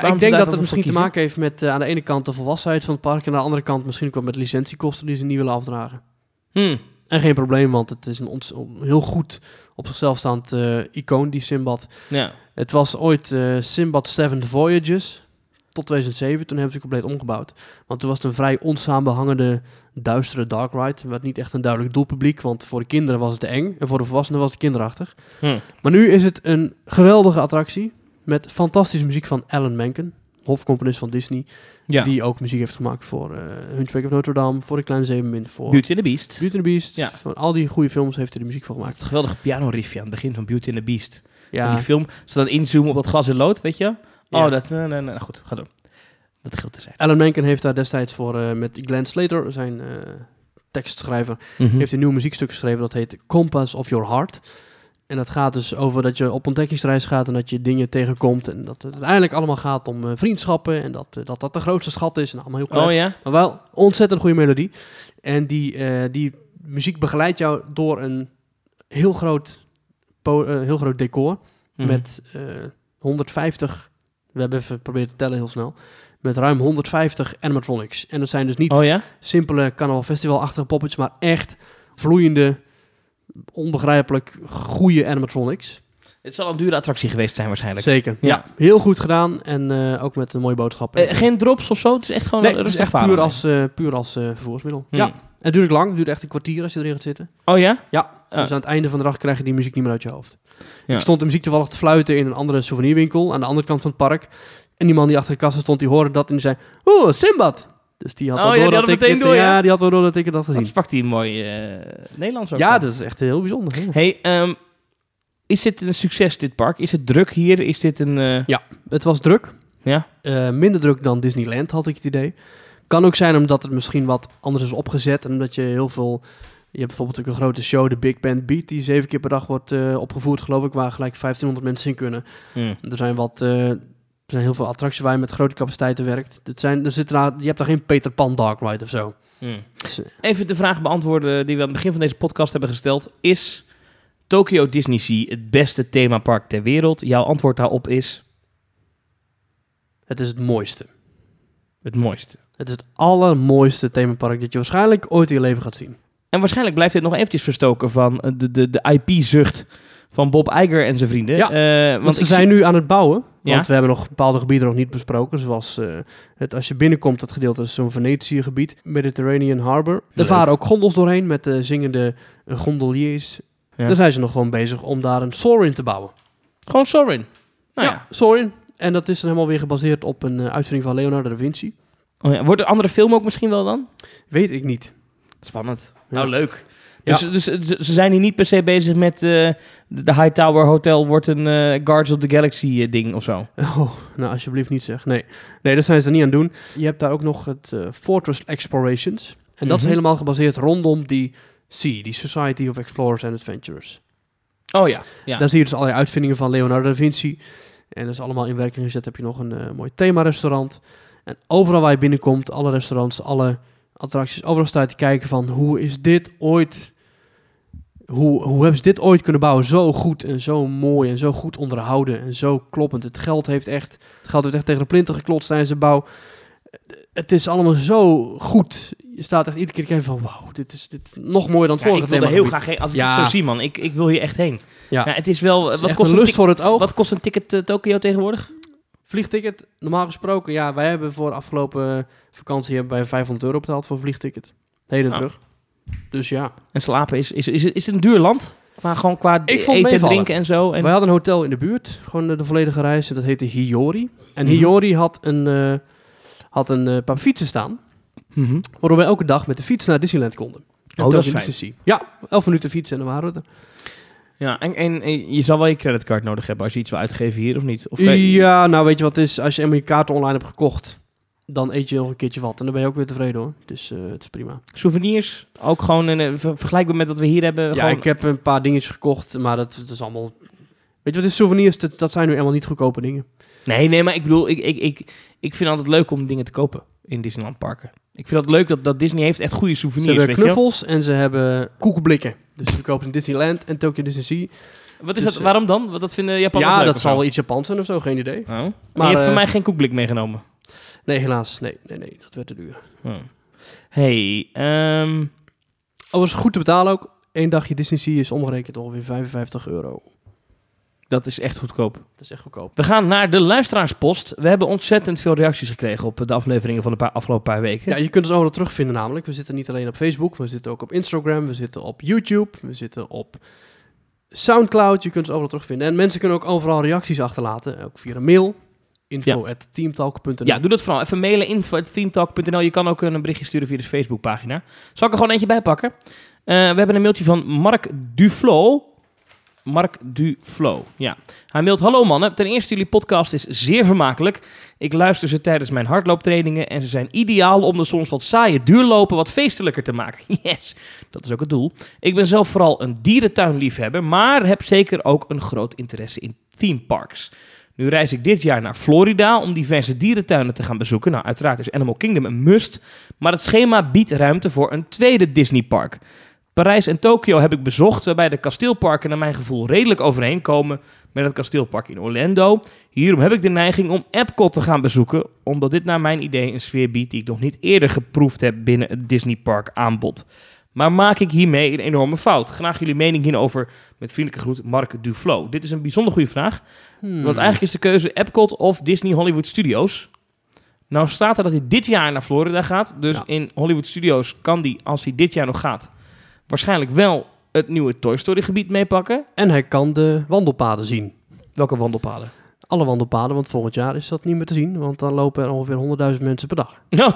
Waarom
ik
ze
denk dat
daar
het
dan
misschien
voor
te maken heeft met eh, aan de ene kant de volwassenheid van het park. En aan de andere kant misschien ook wel met licentiekosten die ze niet willen afdragen.
Hm.
En geen probleem, want het is een ont- een heel goed op zichzelf staand eh, icoon, die Simbad.
Ja.
Het was ooit eh, Simbad Seven Voyages. Tot 2007, toen hebben ze het compleet omgebouwd. Want toen was het een vrij onsamenhangende, duistere dark ride. Met niet echt een duidelijk doelpubliek, want voor de kinderen was het te eng. En voor de volwassenen was het kinderachtig.
Hm.
Maar nu is het een geweldige attractie met fantastische muziek van Alan Menken, hofcomponist van Disney,
ja.
die ook muziek heeft gemaakt voor eh Hunchback of Notre Dame, voor De Kleine Zeemermin, voor
Beauty and the Beast.
Beauty and the Beast.
Ja.
Van al die goede films heeft hij de muziek voor gemaakt.
Het geweldige pianoriffje aan het begin van Beauty and the Beast. Ja.
Ja,
die film, ze dan inzoomen op dat glas en lood, weet je?
Ja.
Oh, dat... eh, nee, nee, goed, ga door. Dat geldt te zijn.
Alan Menken heeft daar destijds voor eh, met Glenn Slater, zijn eh,
Hm.
tekstschrijver,
Mhm.
heeft een nieuw muziekstuk geschreven dat heet Compass of Your Heart. En dat gaat dus over dat je op ontdekkingsreis gaat en dat je dingen tegenkomt. En dat het uiteindelijk allemaal gaat om eh, vriendschappen en dat, eh, dat dat de grootste schat is. En allemaal heel klef.
Oh ja?
Maar wel ontzettend goede melodie. En die, eh, die muziek begeleidt jou door een heel groot, po- eh, heel groot decor.
Mhm.
Met eh, 150, we hebben even proberen te tellen heel snel. Met ruim 150 animatronics. En dat zijn dus niet
Oh ja?
simpele carnaval festivalachtige poppetjes, maar echt vloeiende, onbegrijpelijk goede animatronics.
Het zal een dure attractie geweest zijn waarschijnlijk.
Zeker. Ja.
Ja.
heel goed gedaan en eh, ook met een mooie boodschap.
Eh, geen drops of zo? Het is echt gewoon
nee,
een
het is
rustig
echt
varen.
puur als, eh, puur als eh, vervoersmiddel.
Hm.
Ja. Het duurt ook lang, het duurt echt een kwartier als je erin gaat zitten.
Oh ja? Ja.
Dus aan het einde van de dag krijg je die muziek niet meer uit je hoofd.
Ja.
Ik stond de muziek toevallig te fluiten in een andere souvenirwinkel aan de andere kant van het park. En die man die achter de kassa stond, die hoorde dat en die zei, oeh, Simbad! Dus die had
Oh
wel
ja,
door
die
dat
had het
ik
meteen
dit-
door,
ja.
ja.
die had wel door dat ik het had gezien.
Dat sprak hij een mooi eh, Nederlands ook.
Ja,
dan.
dat is echt heel bijzonder. hè.
Hey, ehm, is dit een succes, dit park? Is het druk hier? Is dit een... eh,
Het was druk.
Ja.
Eh, minder druk dan Disneyland, had ik het idee. Kan ook zijn omdat het misschien wat anders is opgezet. En omdat je heel veel... Je hebt bijvoorbeeld ook een grote show, de Big Band Beat, die zeven keer per dag wordt eh, opgevoerd, geloof ik. Waar gelijk 1500 mensen in kunnen.
hm.
Er zijn wat... eh, er zijn heel veel attracties waar je met grote capaciteiten werkt. Het zijn, er zit daar, je hebt daar geen Peter Pan Dark Ride of zo.
Hmm.
Dus, eh,
Even de vraag beantwoorden die we aan het begin van deze podcast hebben gesteld. Is Tokyo Disney Sea het beste themapark ter wereld? Jouw antwoord daarop is
het is het mooiste.
het mooiste.
Het is het allermooiste themapark dat je waarschijnlijk ooit in je leven gaat zien.
En waarschijnlijk blijft dit nog eventjes verstoken van eh, de, de, de IP-zucht Van Bob Iger en zijn vrienden.
Ja,
Eh,
Want ze
ik
zijn nu aan het bouwen. Want
Ja.
we hebben nog bepaalde gebieden nog niet besproken. Zoals eh, het, als je binnenkomt, dat gedeelte is zo'n Venetië-gebied. Mediterranean Harbor. Daar
Leuk.
varen ook gondels doorheen met eh, zingende eh, gondeliers.
Ja.
Daar zijn ze nog gewoon bezig om daar een Sorin te bouwen.
zie- Gewoon Sorin. Nou ja.
ja, Sorin. En dat is dan helemaal weer gebaseerd op een eh, uitvinding van Leonardo da Vinci.
Oh ja, Wordt een andere film ook misschien wel dan?
Weet ik niet.
Spannend.
Ja.
Nou, leuk.
Ja.
Dus, dus eh, ze ze zijn hier niet per se bezig met eh, de de Hightower Hotel wordt een eh, Guards of the Galaxy eh, ding of zo.
Oh, nou alsjeblieft niet zeg. Nee, nee dat zijn ze er niet aan doen. Je hebt daar ook nog het eh, Fortress Explorations. En dat is
Mhm.
helemaal gebaseerd rondom die sea, die Society of Explorers and Adventurers.
Oh ja. ja.
Daar zie je dus allerlei uitvindingen van Leonardo da Vinci. En dat is allemaal in werking gezet. Heb je nog een eh, mooi themarestaurant. En overal waar je binnenkomt, alle restaurants, alle attracties, overal staat te kijken van hoe is dit ooit... Hoe, hoe hebben ze dit ooit kunnen bouwen? Zo goed en zo mooi en zo goed onderhouden en zo kloppend. Het geld heeft echt, het geld heeft echt tegen de plinten geklotst tijdens de bouw. Het is allemaal zo goed. Je staat echt iedere keer te kijken van wauw, dit is dit is nog mooier dan het
Ja, ik
vorige
wil er heel
themagebied.
graag heen. Als ik
Ja.
het zo zie, man. Ik, ik wil hier echt heen.
Ja.
Ja. het is wel...
Het is
wat,
echt
kost
een
een
lust
tik-
voor het oog.
wat kost een ticket eh, Tokio tegenwoordig?
Vliegticket, normaal gesproken, ja, wij hebben voor de afgelopen vakantie hebben wij 500 euro betaald voor een vliegticket. Heen en
Ah.
terug. Dus ja.
En slapen is, is, is, is het een duur land? Qua, gewoon qua
Ik
eten
vond
en
meevallen.
drinken en zo. En,
Wij hadden een hotel in de buurt, gewoon de, de volledige reis, en dat heette Hiyori. En
Mhm.
Hiyori had een, eh, had een eh, paar fietsen staan,
Mhm.
waardoor wij elke dag met de fiets naar Disneyland konden. En
Oh, dat is
Tokyo
fijn.
Disney Sea. Ja, 11 minuten fietsen en dan waren we er.
Ja, en, en, en je zal wel je creditcard nodig hebben als je iets wil uitgeven hier of niet. Of kan je-
Ja, nou weet je wat het is, als je eenmaal je kaarten online hebt gekocht, dan eet je nog een keertje wat. En dan ben je ook weer tevreden hoor. Dus eh, het is prima.
souvenirs, ook gewoon een, eh, ver- vergelijkbaar met wat we hier hebben.
Ja,
Eh, gewoon,
ik heb een paar dingetjes gekocht, maar dat, dat is allemaal... Weet je wat is souvenirs? Dat, dat zijn nu helemaal niet goedkope dingen.
Nee, nee, maar ik bedoel, ik, ik, ik, ik vind altijd leuk om dingen te kopen in Disneyland parken. Ik vind dat leuk dat, dat Disney heeft echt goede
Ze
souvenirs,
hebben
weet je
knuffels en ze hebben koekenblikken. Dus ze verkopen in Disneyland en Tokyo Disney Sea.
wel? Wat is
dus,
dat?
eh,
Waarom dan? Want dat vinden Japanners
ja,
leuk
dat
of
zal
zo?
wel iets Japans zijn of zo, geen idee.
Oh. Maar,
Maar,
je hebt
eh,
voor mij geen koekblik meegenomen.
Nee, helaas. Nee, nee, nee. Dat werd te duur.
Oh. Hey, ehm,
Oh, was goed te betalen ook. Eén dagje Disney Sea is omgerekend ongeveer 55 euro.
dat is echt goedkoop.
Dat is echt goedkoop.
We gaan naar de luisteraarspost. We hebben ontzettend veel reacties gekregen op de afleveringen van de paar, afgelopen paar weken.
Ja, je kunt ons overal terugvinden namelijk. We zitten niet alleen op Facebook, we zitten ook op Instagram, we zitten op YouTube, we zitten op Soundcloud. Je kunt ons overal terugvinden. En mensen kunnen ook overal reacties achterlaten, ook via een mail. info.teamtalk.nl
Ja, doe dat vooral. Even mailen info.teamtalk.nl. Je kan ook een berichtje sturen via de Facebookpagina. Zal ik er gewoon eentje bij pakken? Eh, we hebben een mailtje van Mark Duflo. Mark Duflo, ja. Hij mailt, hallo mannen. Ten eerste, jullie podcast is zeer vermakelijk. Ik luister ze tijdens mijn hardlooptrainingen en ze zijn ideaal om de soms wat saaie duurlopen wat feestelijker te maken. Yes, dat is ook het doel. Ik ben zelf vooral een dierentuinliefhebber, maar heb zeker ook een groot interesse in themeparks. Nu reis ik dit jaar naar Florida om diverse dierentuinen te gaan bezoeken. Nou, uiteraard is Animal Kingdom een must, maar het schema biedt ruimte voor een tweede Disneypark. Parijs en Tokio heb ik bezocht, waarbij de kasteelparken naar mijn gevoel redelijk overeenkomen met het kasteelpark in Orlando. Hierom heb ik de neiging om Epcot te gaan bezoeken, omdat dit naar mijn idee een sfeer biedt die ik nog niet eerder geproefd heb binnen het Disneypark aanbod. Maar maak ik hiermee een enorme fout? Graag jullie mening hierover. Met vriendelijke groet, Mark Duflo. Dit is een bijzonder goede vraag.
Hmm.
Want eigenlijk is de keuze Epcot of Disney Hollywood Studios. Nou staat er dat hij dit jaar naar Florida gaat. Dus
Ja.
in Hollywood Studios kan hij, als hij dit jaar nog gaat, waarschijnlijk wel het nieuwe Toy Story gebied meepakken.
En hij kan de wandelpaden zien.
Welke wandelpaden?
Alle wandelpaden, want volgend jaar is dat niet meer te zien. Want dan lopen er ongeveer 100.000 mensen per dag.
Nou,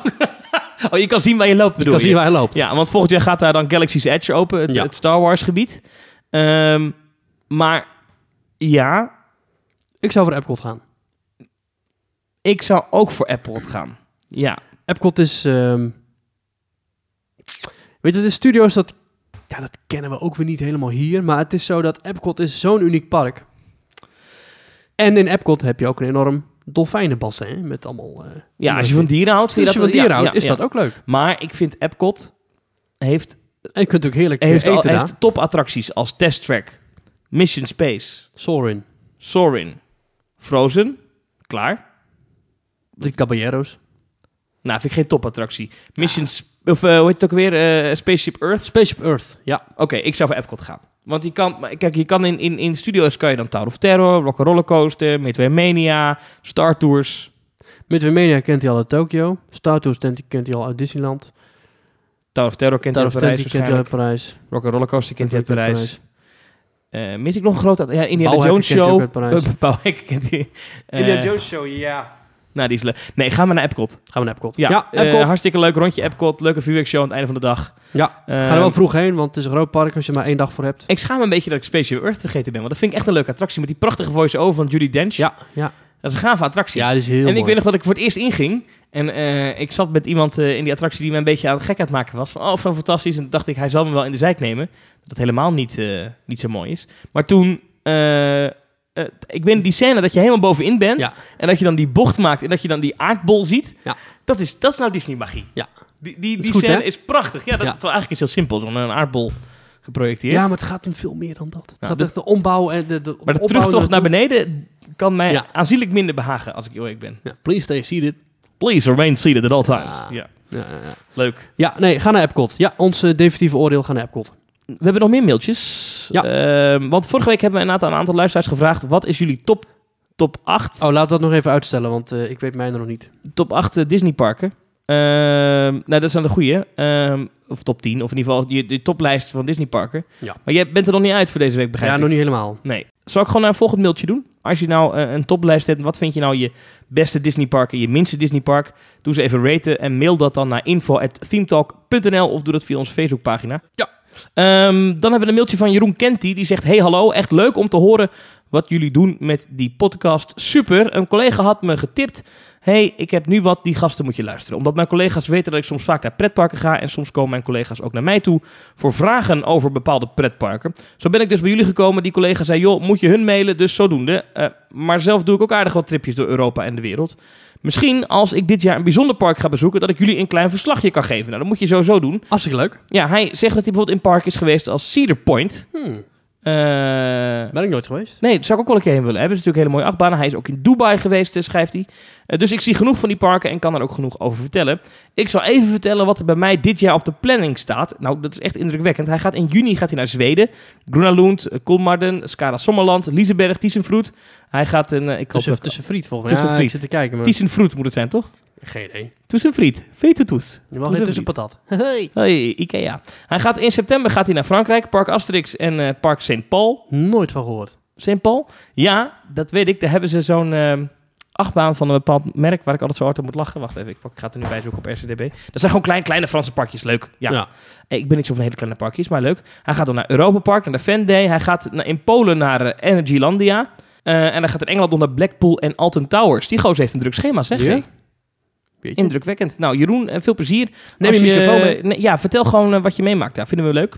oh, je kan zien waar je loopt,
Je
bedoel
kan
je?
zien waar hij loopt.
Ja, want volgend jaar gaat daar dan Galaxy's Edge open, het,
Ja.
het Star Wars gebied. Ehm, maar ja,
Ik zou voor Epcot gaan.
ik zou ook voor Epcot gaan. Ja,
Epcot is... ehm, Weet je, de studio's, dat, ja, dat kennen we ook weer niet helemaal hier. Maar het is zo dat Epcot is zo'n uniek park. En in Epcot heb je ook een enorm dolfijnenbassin. Met allemaal... eh,
ja als je van dieren houdt,
Als
vind
je
je
van
dat
dieren
ja,
houdt,
ja,
is
ja.
dat ook leuk.
Maar ik vind Epcot heeft
En je kunt ook heerlijk
Hij heeft,
eten
al,
daar.
heeft topattracties als Test Track, Mission Space,
Sorin,
Sorin, Frozen. Klaar.
de Caballeros.
Nou, vind ik geen topattractie.
Ah.
Mission, Sp- of eh, hoe heet het ook weer? Eh, Spaceship Earth.
Spaceship Earth, ja.
Oké, ik zou voor Epcot gaan. Want je kan, maar kijk, je kan in, in, in studio's kan je dan Tower of Terror, Rock'n'Roller Coaster, Midway Mania, Star Tours.
Midway Mania kent hij al uit Tokio. Star Tours kent kent hij al uit Disneyland.
Tower of Terror kent hij
Tower
uit
of Terror
Parijs
kent hij uit
waarschijnlijk.
Parijs.
Rock'n'Roller Coaster kent hij uit
Kent hij uit
Parijs. Eh, mis ik nog een groot aantal? Ja, Indiana
Bouwhekken
Jones
kent hij ook
Show.
uit Parijs.
Eh, Bouwhekken kent hij. Eh,
Show, ja.
Nou, die is leuk. Nee, gaan we naar Epcot.
Gaan we naar Epcot.
Ja, eh,
Epcot.
hartstikke leuk rondje Epcot. Leuke vuurwerkshow aan het einde van de dag.
Ja,
Eh,
Ga er wel vroeg heen, want het is een groot park als je maar één dag voor hebt.
Ik schaam me een beetje dat ik Spaceship Earth vergeten ben. Want dat vind ik echt een leuke attractie. Met die prachtige voice-over van Judy Dench.
Ja, ja.
Dat is een gave attractie.
ja dat is heel
en ik
mooi.
weet nog dat ik voor het eerst inging. En eh, ik zat met iemand eh, in die attractie die me een beetje aan het gek aan het maken was. Van, oh, van fantastisch. En toen dacht ik, hij zal me wel in de zijk nemen. Dat het helemaal niet, eh, niet zo mooi is. Maar toen... eh, eh, ik weet die scène dat je helemaal bovenin bent.
Ja.
En dat je dan die bocht maakt. En dat je dan die aardbol ziet.
Ja.
Dat, is, dat is nou Disney-magie.
Ja.
Die, die,
is
die
goed,
scène
hè?
is prachtig. Ja, dat,
Ja.
Terwijl eigenlijk is het heel simpel. Zo'n een aardbol geprojecteerd.
Ja, maar het gaat om veel meer dan dat. Het
Ja,
gaat
dat-
echt de ombouw en de, de
Maar de
opbouw
terugtocht naar
naartoe.
beneden kan mij
Ja.
aanzienlijk minder behagen als ik heel eerlijk ben.
Ja, please stay seated.
Please remain seated at all times.
Ja.
Ja.
Ja, ja, ja.
Leuk.
ja, nee, ga naar Epcot. Ja, ons eh, definitieve oordeel, ga naar Epcot.
We hebben nog meer mailtjes.
Ja.
Ehm, want vorige week hebben we een aantal, een aantal luisteraars gevraagd... wat is jullie top, top 8,
Oh, laat dat nog even uitstellen, want eh, ik weet mijne nog niet.
top 8 eh, Disney-parken? Ehm, nou, dat zijn de goede. of top 10, of in ieder geval die, die toplijst van Disney-parken.
Ja.
Maar jij bent er nog niet uit voor deze week, begrijp
ja,
ik?
nog niet helemaal.
Nee. Zal ik gewoon naar een volgend mailtje doen? Als je nou eh, een toplijst hebt, wat vind je nou je beste Disneypark en je minste Disneypark? Doe ze even raten en mail dat dan naar info.themetalk.nl of doe dat via onze Facebookpagina. Ja. dan hebben we een mailtje van Jeroen Kenty. Die zegt, hey hallo, echt leuk om te horen wat jullie doen met die podcast. Super, een collega had me getipt. hey, ik heb nu wat, die gasten moet je luisteren. Omdat mijn collega's weten dat ik soms vaak naar pretparken ga... en soms komen mijn collega's ook naar mij toe voor vragen over bepaalde pretparken. Zo ben ik dus bij jullie gekomen. Die collega zei, joh, moet je hun mailen? Dus zodoende. Eh, maar zelf doe ik ook aardig wat tripjes door Europa en de wereld. Misschien als ik dit jaar een bijzonder park ga bezoeken... dat ik jullie een klein verslagje kan geven. Nou, dat moet je sowieso doen.
Hartstikke leuk.
Ja, hij zegt dat hij bijvoorbeeld in park is geweest als Cedar Point.
Hmm,
Eh,
ben ik nooit geweest.
Nee, daar zou ik ook wel een keer heen willen. Hebben ze natuurlijk hele mooie achtbanen. Hij is ook in Dubai geweest, eh, schrijft hij. Eh, dus ik zie genoeg van die parken en kan er ook genoeg over vertellen. Ik zal even vertellen wat er bij mij dit jaar op de planning staat. Nou, dat is echt indrukwekkend. Hij gaat in juni gaat hij naar Zweden. Grunalund, eh, Kolmarden, Skara Sommerland, Liseberg, Thysenfroet. Hij gaat een... eh, ik hoop
Tussen,
dat...
tussen friet, volgens mij.
Tussen
Ja, ik
friet.
zit te kijken, maar...
Thysenfroet moet het zijn, toch?
Geen idee.
Thysenfriet. Vetetus.
Je mag geen tussen patat. Hey.
Hey, Ikea. Hij gaat in september gaat hij naar Frankrijk, Park Asterix en eh, Park St. Paul.
Nooit van gehoord.
St. Paul? Ja, dat weet ik. Daar hebben ze zo'n ehm, achtbaan van een bepaald merk waar ik altijd zo hard om moet lachen. Wacht even, ik, pak, ik ga het er nu bij zoeken op RCDB. Dat zijn gewoon klein, kleine Franse parkjes. Leuk. Ja.
Ja.
Eh, Ik ben niet zo van hele kleine parkjes, maar leuk. Hij gaat dan naar Europa Park, naar de Fan Day. Hij gaat naar, in Polen naar eh, Energylandia. Eh, en hij gaat in Engeland nog naar Blackpool en Alton Towers. Die gozer heeft een druk schema, zeg.
Ja.
hé.
Weet je?
Indrukwekkend. Nou, Jeroen, eh, veel plezier.
Neem
Als
je microfoon mee.
nee, ja, vertel gewoon eh, wat je meemaakt daar. Vinden we leuk.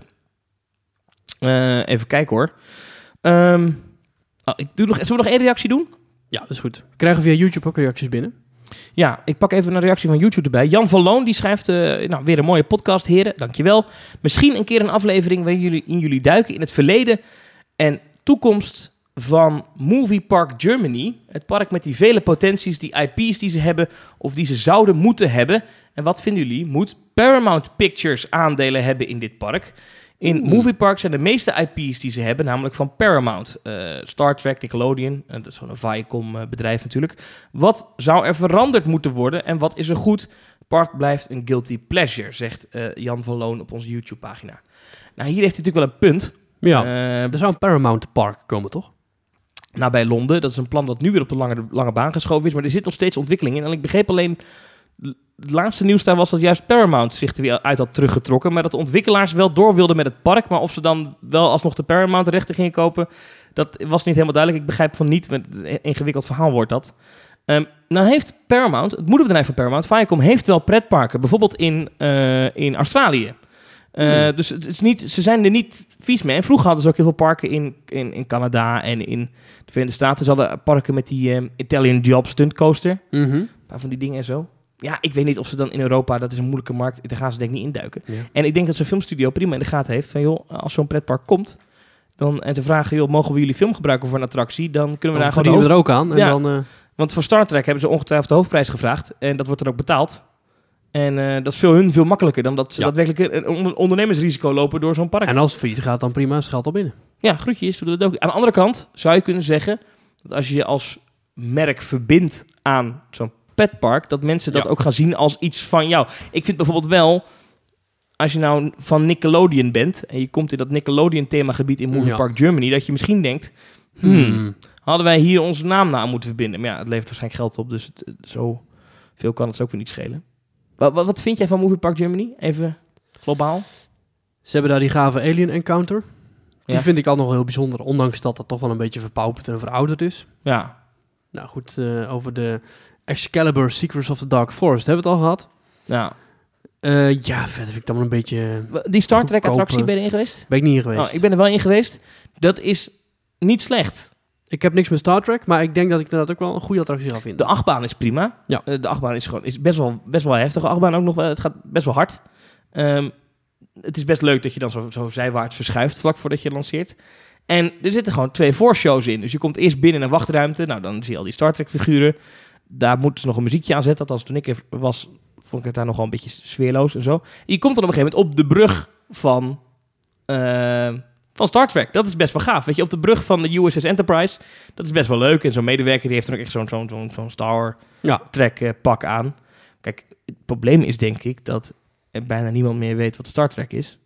Eh, even kijken hoor. Ehm, oh, ik doe nog, zullen we nog één reactie doen?
Ja, dat is goed. We krijgen via YouTube ook reacties binnen.
Ja, ik pak even een reactie van YouTube erbij. Jan van Loon die schrijft eh, nou, weer een mooie podcast, heren. Dankjewel. Misschien een keer een aflevering waarin jullie, in jullie duiken in het verleden en toekomst van Movie Park Germany. Het park met die vele potenties, die IP's die ze hebben of die ze zouden moeten hebben. En wat vinden jullie? Moet Paramount Pictures aandelen hebben in dit park? In
Oeh.
Movie Park zijn de meeste IP's die ze hebben, namelijk van Paramount. Eh, Star Trek, Nickelodeon, eh, dat is gewoon een Viacom eh, bedrijf natuurlijk. Wat zou er veranderd moeten worden en wat is er goed? Het park blijft een guilty pleasure, zegt eh, Jan van Loon op onze YouTube-pagina. Nou, hier heeft hij natuurlijk wel een punt.
Ja.
Eh,
er zou een Paramount Park komen, toch?
nou, bij Londen. Dat is een plan dat nu weer op de lange, lange baan geschoven is. Maar er zit nog steeds ontwikkeling in. En ik begreep alleen... Het laatste nieuws daar was dat juist Paramount zich er weer uit had teruggetrokken. Maar dat de ontwikkelaars wel door wilden met het park. Maar of ze dan wel alsnog de Paramount-rechten gingen kopen... dat was niet helemaal duidelijk. Ik begrijp van niet. Met een ingewikkeld verhaal wordt dat. Ehm, nou heeft Paramount, het moederbedrijf van Paramount, Viacom... heeft wel pretparken. Bijvoorbeeld in, eh, in Australië. Eh, Dus het is niet, ze zijn er niet vies mee. En vroeger hadden ze ook heel veel parken in, in, in Canada en in de Verenigde Staten. Ze hadden parken met die ehm, Italian Job stunt coaster.
Mhm.
Een paar van die dingen en zo. Ja, ik weet niet of ze dan in Europa, dat is een moeilijke markt, daar gaan ze denk ik niet induiken.
Ja.
En ik denk dat zo'n filmstudio prima in de gaten heeft van joh, als zo'n pretpark komt dan, en te vragen joh, mogen we jullie film gebruiken voor een attractie, dan kunnen
Dan
we daar gewoon... de
verdienen we
hoofd-
er ook aan. En
Ja.
dan, eh,
Want voor Star Trek hebben ze ongetwijfeld de hoofdprijs gevraagd en dat wordt dan ook betaald. En eh, dat is veel hun veel makkelijker dan dat ze
Ja.
daadwerkelijk een onder- ondernemersrisico lopen door zo'n park.
En als het failliet gaat, dan prima, is het geld al binnen.
Ja, groetjes, we doen het ook. Aan de andere kant zou je kunnen zeggen dat als je je als merk verbindt aan zo'n petpark, dat mensen dat
Ja.
ook gaan zien als iets van jou. Ik vind bijvoorbeeld wel, als je nou van Nickelodeon bent en je komt in dat Nickelodeon themagebied in Movie
Ja.
Park Germany, dat je misschien denkt, hmm, hadden wij hier onze naam naar aan moeten verbinden. Maar ja, het levert waarschijnlijk geld op, dus het- het- zo veel kan het ook weer niet schelen. Wat, wat, wat vind jij van Movie Park Germany? Even globaal.
Ze hebben daar die gave Alien Encounter. Die
Ja.
vind ik al nog wel heel bijzonder, ondanks dat dat toch wel een beetje verpauperd en verouderd is.
Ja,
Nou goed, eh, over de Excalibur Secrets of the Dark Forest hebben we het al gehad.
ja.
Eh, ja, verder vind ik dan wel een beetje...
Die Star Trek attractie,
Goedkope-
ben je in geweest?
Ben ik niet hier geweest.
Oh,
ik,
ik ben er wel in geweest. Dat is niet slecht.
heb niks met Star Trek, maar ik denk dat ik inderdaad ook wel een goede attractie ga vinden.
De achtbaan is prima.
Ja.
Eh, De achtbaan is gewoon is best wel best wel een heftige achtbaan ook nog wel. Het gaat best wel hard. Ehm, het is best leuk dat je dan zo, zo zijwaarts verschuift vlak voordat je lanceert. En er zitten gewoon twee voorshows in. Dus je komt eerst binnen in een wachtruimte. Nou, dan zie je al die Star Trek figuren. Daar moeten ze nog een muziekje aan zetten. Althans, toen ik er was, vond ik het daar nogal een beetje sfeerloos en zo. je komt dan op een gegeven moment op de brug van, eh, van Star Trek. Dat is best wel gaaf. Weet je, op de brug van de USS Enterprise. Dat is best wel leuk. En zo'n medewerker die heeft dan ook echt zo'n zo'n zo'n zo'n Star
Ja.
Trek eh, pak aan. Kijk, het probleem is denk ik dat er bijna niemand meer weet wat Star Trek is.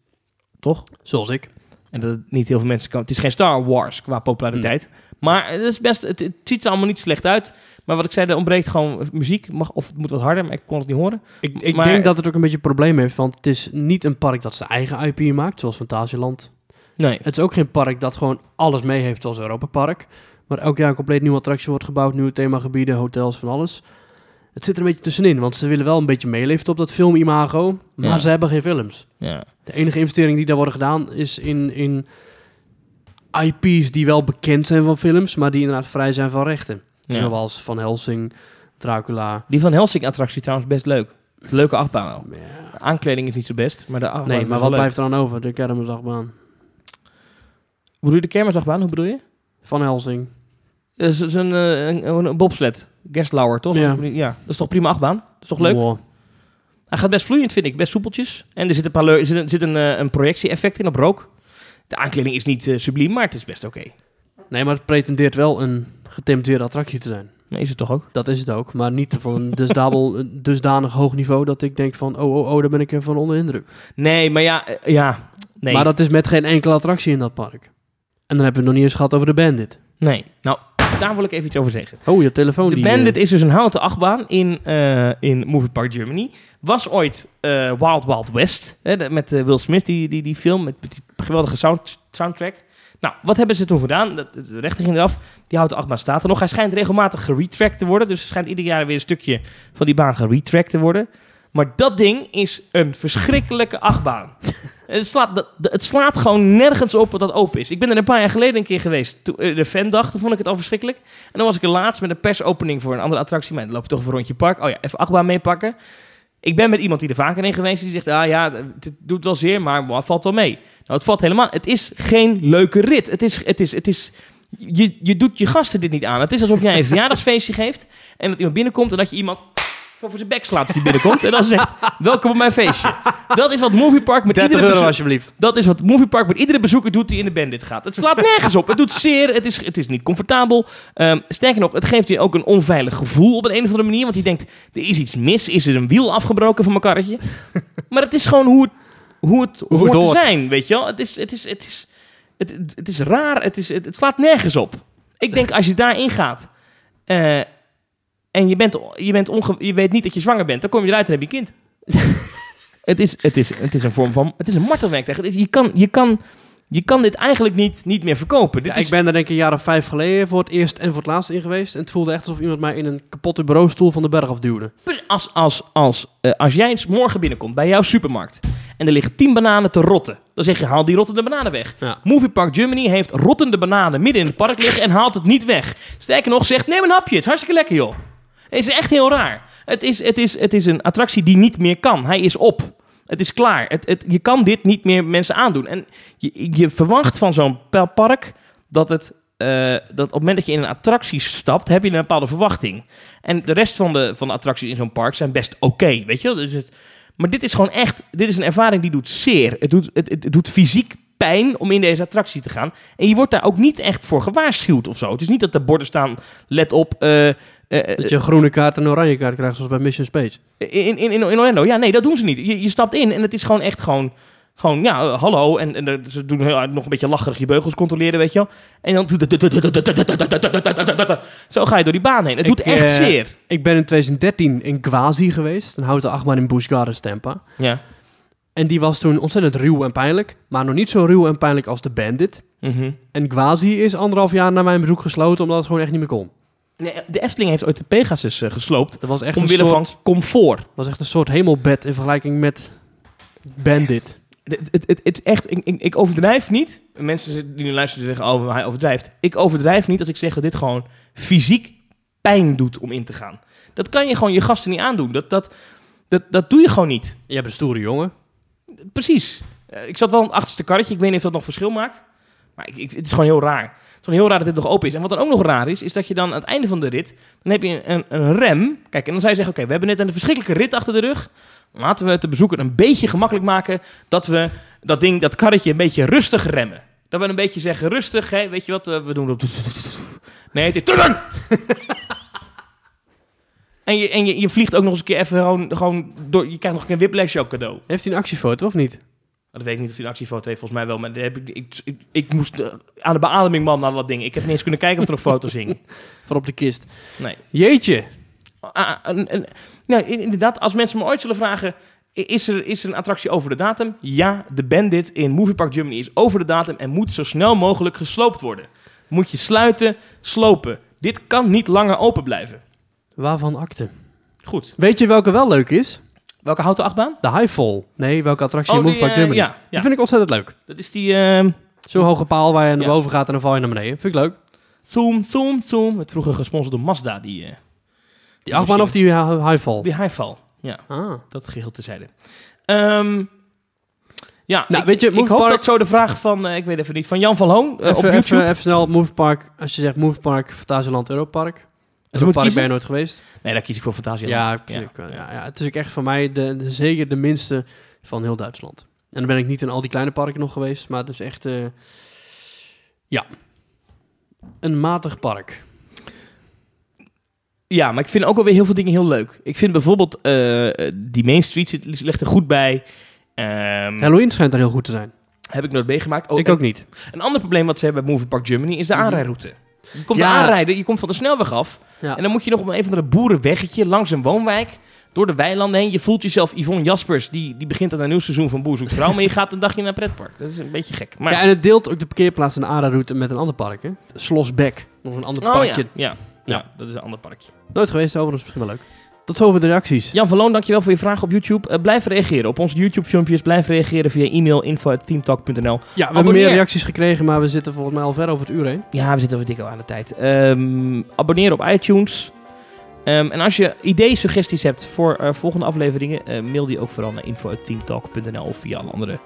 Toch?
Zoals ik.
En dat het niet heel veel mensen kan. Het is geen Star Wars qua populariteit.
Hmm.
Maar het, is best, het, het ziet er allemaal niet slecht uit. Maar wat ik zei, er ontbreekt gewoon muziek. Mag, of het moet wat harder, maar ik kon het niet horen.
Ik, ik
Maar-
denk dat het ook een beetje een probleem heeft, want het is niet een park dat zijn eigen IP maakt, zoals Fantasieland.
Nee.
Het is ook geen park dat gewoon alles mee heeft, zoals Europa Park. Maar elk jaar een compleet nieuwe attractie wordt gebouwd, nieuwe themagebieden, hotels, van alles. Het zit er een beetje tussenin, want ze willen wel een beetje meeliften op dat filmimago, maar
Ja.
ze hebben geen films.
Ja.
De enige investering die daar worden gedaan is in, in IP's die wel bekend zijn van films, maar die inderdaad vrij zijn van rechten.
Ja.
Zoals Van Helsing, Dracula.
Die Van Helsing-attractie trouwens best leuk. Leuke achtbaan wel.
Ja.
De aankleding is niet zo best, maar de achtbaan
Nee,
is
maar
wel
wat
leuk.
blijft er dan over? De kermisachtbaan.
Bedoel je de kermisachtbaan? Hoe bedoel je?
Van Helsing.
Dat is een, eh, een, een, een bobsled. Gerstlauer, toch?
Ja.
ja. Dat is toch prima achtbaan? Dat is toch leuk?
Wow.
Hij gaat best vloeiend, vind ik. Best soepeltjes. En er zit een, paar leu- er zit een, zit een, eh, een projectie-effect in op rook. De aankleding is niet eh, subliem, maar het is best oké.
Nee, maar het pretendeert wel een getempeerde attractie te zijn.
Nee, is het toch ook?
Dat is het ook, maar niet van een dusdabel, een dusdanig hoog niveau dat ik denk van, oh, oh, oh, daar ben ik even van onder de indruk.
Nee, maar ja, eh, ja. Nee.
Maar dat is met geen enkele attractie in dat park. En dan hebben we het nog niet eens gehad over de Bandit.
nee. Nou, daar wil ik even iets over zeggen.
Oh, je telefoon
De
die...
Bandit
eh,
is dus een houten achtbaan in, eh, in Movie Park Germany. Was ooit eh, Wild Wild West. Hè, de- met eh, Will Smith, die, die, die film. Met, met die geweldige sound, soundtrack. Nou, wat hebben ze toen gedaan? Dat- De rechter ging eraf. Die houten achtbaan staat er nog. Hij schijnt regelmatig geretracked te worden. Dus er schijnt ieder jaar weer een stukje van die baan geretracked te worden. Maar dat ding is een verschrikkelijke achtbaan. Het slaat, dat- dat- het slaat gewoon nergens op dat dat open is. Ik ben er een paar jaar geleden een keer geweest. Toen, eh, de fandag, toen vond ik het al verschrikkelijk. En dan was ik er laatst met een persopening voor een andere attractie. Maar dan loop je toch even een rondje park. Oh ja, even achtbaan meepakken. Ik ben met iemand die er vaker in geweest is. Die zegt, ah ja, het doet wel zeer, maar wat valt wel mee. Nou, het valt helemaal... Het is geen leuke rit. Het is... Het is, het is je, je doet je gasten dit niet aan. Het is alsof jij een verjaardagsfeestje geeft... en dat iemand binnenkomt en dat je iemand... gewoon voor zijn bek slaat als die binnenkomt... en dan zegt, welkom op mijn feestje. Dat is wat Movie Park met
30
iedere
euro
bezo-
alsjeblieft.
dat is wat Movie Park met iedere bezoeker doet die in de bandit gaat. Het slaat nergens op. Het doet zeer. Het is, het is niet comfortabel. Ehm, sterker nog, het geeft je ook een onveilig gevoel op een, een of andere manier. Want je denkt, er is iets mis. Is er een wiel afgebroken van mijn karretje? maar het is gewoon hoe het, hoe het
het
hoort te
hoort.
zijn, weet je wel. Het is, het is, het is, het, het, het is raar. Het, is, het, het slaat nergens op. Ik denk, als je daarin gaat... eh, en je, bent, je, bent onge- je weet niet dat je zwanger bent, dan kom je eruit en heb je een kind. Het is, het, is, het is een vorm van. Het is een martelwerk. Het is- Je kan, je, kan, je kan dit eigenlijk niet, niet meer verkopen. Dit
Ja,
is,
Ik ben er denk ik een jaar of vijf geleden voor het eerst en voor het laatst in geweest. En het voelde echt alsof iemand mij in een kapotte bureaustoel van de berg afduwde.
als, als, als, eh, als jij eens morgen binnenkomt bij jouw supermarkt. en er liggen 10 bananen te rotten. dan zeg je: haal die rottende bananen weg.
Ja.
Movie Park Germany heeft rottende bananen midden in het park liggen. en haalt het niet weg. Sterker nog, zegt: neem een hapje. Het is hartstikke lekker, joh. Het is echt heel raar. Het is, het is, het is een attractie die niet meer kan. Hij is op. Het is klaar. Het, het, je kan dit niet meer mensen aandoen. En je, je verwacht van zo'n pa- park dat het eh, dat op het moment dat je in een attractie stapt, heb je een bepaalde verwachting. En de rest van de, van de attracties in zo'n park zijn best oké, weet je wel. Dus het, maar dit is gewoon echt, dit is een ervaring die doet zeer. Het doet, het, het, het doet fysiek pijn om in deze attractie te gaan. En je wordt daar ook niet echt voor gewaarschuwd of zo. Het is niet dat er borden staan, let op, eh, eh,
Dat je een groene kaart en een oranje kaart krijgt, zoals bij Mission Space.
in, in, in in Orlando. Ja, nee, dat doen ze niet. Je, je stapt in en het is gewoon echt gewoon... Gewoon, ja, eh, hallo. En, en eh, ze doen heel, hard nog een beetje lacherig je beugels controleren, weet je wel. En dan... Zo ga je door die baan heen. Het doet
Ik,
echt
eh,
zeer.
Ik ben in 2013 in Quasi geweest, een houten achtbaan in Busch Gardens, Tampa.
Ja.
En die was toen ontzettend ruw en pijnlijk, maar nog niet zo ruw en pijnlijk als de Bandit.
Mhm.
En Quasi is anderhalf jaar na mijn bezoek gesloten, omdat het gewoon echt niet meer kon.
Nee, eh, de Efteling heeft ooit de Pegasus eh, gesloopt.
Dat was echt, een
Omwille
soort,
van comfort.
was echt een soort hemelbed in vergelijking met Bandit.
Het, het, het, het is echt, ik, ik, ik overdrijf niet. Mensen die nu luisteren zeggen, oh, hij overdrijft. Ik overdrijf niet als ik zeg dat dit gewoon fysiek pijn doet om in te gaan. Dat kan je gewoon je gasten niet aandoen. Dat, dat, dat, dat doe je gewoon niet.
Je bent een stoere jongen.
Precies. Eh, Ik zat wel in het achterste karretje. Ik weet niet of dat nog verschil maakt. Maar ik, ik- het is gewoon heel raar. Het is gewoon heel raar dat dit nog open is. En wat dan ook nog raar is, is dat je dan aan het einde van de rit... dan heb je een, een rem. Kijk, en dan zou je zeggen... oké, we hebben net een verschrikkelijke rit achter de rug. Laten we het de bezoeker een beetje gemakkelijk maken... dat we dat ding, dat karretje een beetje rustig remmen. Dat we een beetje zeggen, rustig, hè, weet je wat, eh, we doen op... Nee, het is... En, je, en je, je vliegt ook nog eens een keer even gewoon, gewoon door... Je krijgt nog een keer een whiplash ook cadeau.
Heeft hij een actiefoto of niet?
Maar Dat weet ik niet of hij een actiefoto heeft, volgens mij wel. Maar daar heb ik, ik, ik, ik moest eh, aan de beademing man naar dat ding. Ik heb niet eens kunnen kijken of er nog foto's hingen.
Van op de kist.
Nee.
Jeetje.
Ah, een- een- nou, in- inderdaad, als mensen me ooit zullen vragen... i- Is er, is er een attractie over de datum? Ja, de Bandit in Movie Park Germany is over de datum... en moet zo snel mogelijk gesloopt worden. Moet je sluiten, slopen. Dit kan niet langer open blijven.
Waarvan akte?
Goed.
Weet je welke wel leuk is?
Welke houten achtbaan?
De Highfall. Nee, welke attractie in Move
die,
Park
eh,
Germany.
ja,
Die
ja,
vind ik ontzettend leuk.
dat is die... ehm,
Zo'n hoge paal waar je naar
Ja.
boven gaat en dan val je naar beneden. Vind ik leuk.
Zoom, Zoom, Zoom. Het vroeger gesponsord door Mazda, die, eh,
Die achtbaan of die eh, hi- Highfall?
die highfall. Ja.
Ah.
Dat geheel tezijde. Ehm ja,
Nou,
ik,
weet je,
ik
Move
hoop
Park-
dat zo de vraag van, eh, ik weet even niet, van Jan van Loon eh,
Even,
op YouTube.
even, even snel, Move Park. Als je zegt Move Park, Fantasieland, Europark.
Dus moet
Europark ben
kiezen?
je nooit geweest.
Nee, daar kies ik voor Fantasieland.
Ja, precies. ja. Ja, het is ook echt voor mij de, de- zeker de minste van heel Duitsland. En dan ben ik niet in al die kleine parken nog geweest, maar het is echt... eh, ja. Een matig park.
Ja, maar ik vind ook alweer heel veel dingen heel leuk. Ik vind bijvoorbeeld, eh, eh, die Main Street zit, ligt er goed bij. Ehm,
Halloween schijnt daar heel goed te zijn.
heb ik nooit meegemaakt. Oh,
ik
en
ook niet.
Een ander probleem wat ze hebben bij Movie Park Germany is de
Mhm.
aanrijroute. Je komt
Ja.
aanrijden, je komt van de snelweg af.
Ja.
En dan moet je nog op een van de boerenweggetje langs een woonwijk. Door de weilanden heen. Je voelt jezelf Yvonne Jaspers. Die, die begint aan een nieuw seizoen van Boer zoekt vrouw. maar je gaat een dagje naar een pretpark. Dat is een beetje gek. Maar
Ja, en het deelt ook de parkeerplaats en de ARA-route met een ander park, hè? Slosbeck, nog een ander
Oh ja.
parkje.
Ja. ja.
Ja.
dat is een ander parkje.
Nooit geweest, overigens misschien wel leuk. Tot zover de reacties.
Jan van Loon, dankjewel voor je vraag op YouTube. Eh, blijf reageren op onze YouTube-filmpjes. Blijf reageren via e-mail info.teamtalk.nl.
Ja, we hebben
Abonneer.
meer reacties gekregen, maar we zitten volgens mij al ver over het uur heen.
Ja, we zitten weer dik al aan de tijd. Ehm abonneer op iTunes. Ehm, en als je ideeën, suggesties hebt voor eh, volgende afleveringen, eh, mail die ook vooral naar info.teamtalk.nl of via alle andere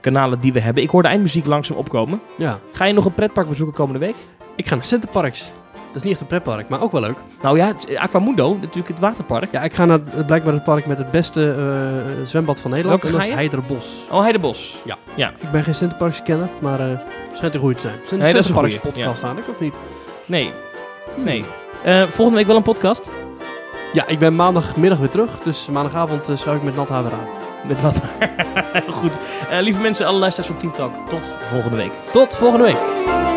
kanalen die we hebben. Ik hoor de eindmuziek langzaam opkomen.
Ja.
Ga je nog een pretpark bezoeken komende week?
Ik ga naar Centerparks. Dat is niet echt een pretpark, maar ook wel leuk.
Nou ja, het- Aquamundo, natuurlijk het waterpark.
Ja, ik ga naar eh, blijkbaar het park met het beste eh, zwembad van Nederland.
Welke
en dat
ga
is
je?
Heiderbos.
Oh, Heidebos.
Ik ben geen Centerparks kenner, maar eh schijnt een goeie te zijn. Is er
Nee, dat is een
Centerparks
goeie,
podcast aan, ik of niet?
Nee, nee. Eh, volgende week wel een podcast.
Ja, ik ben maandagmiddag weer terug, dus maandagavond eh, schuif ik met nat haar weer aan.
Met nat haar. Goed. Eh, lieve mensen, alle luisteraars van Team Talk, tot volgende week.
Tot volgende week.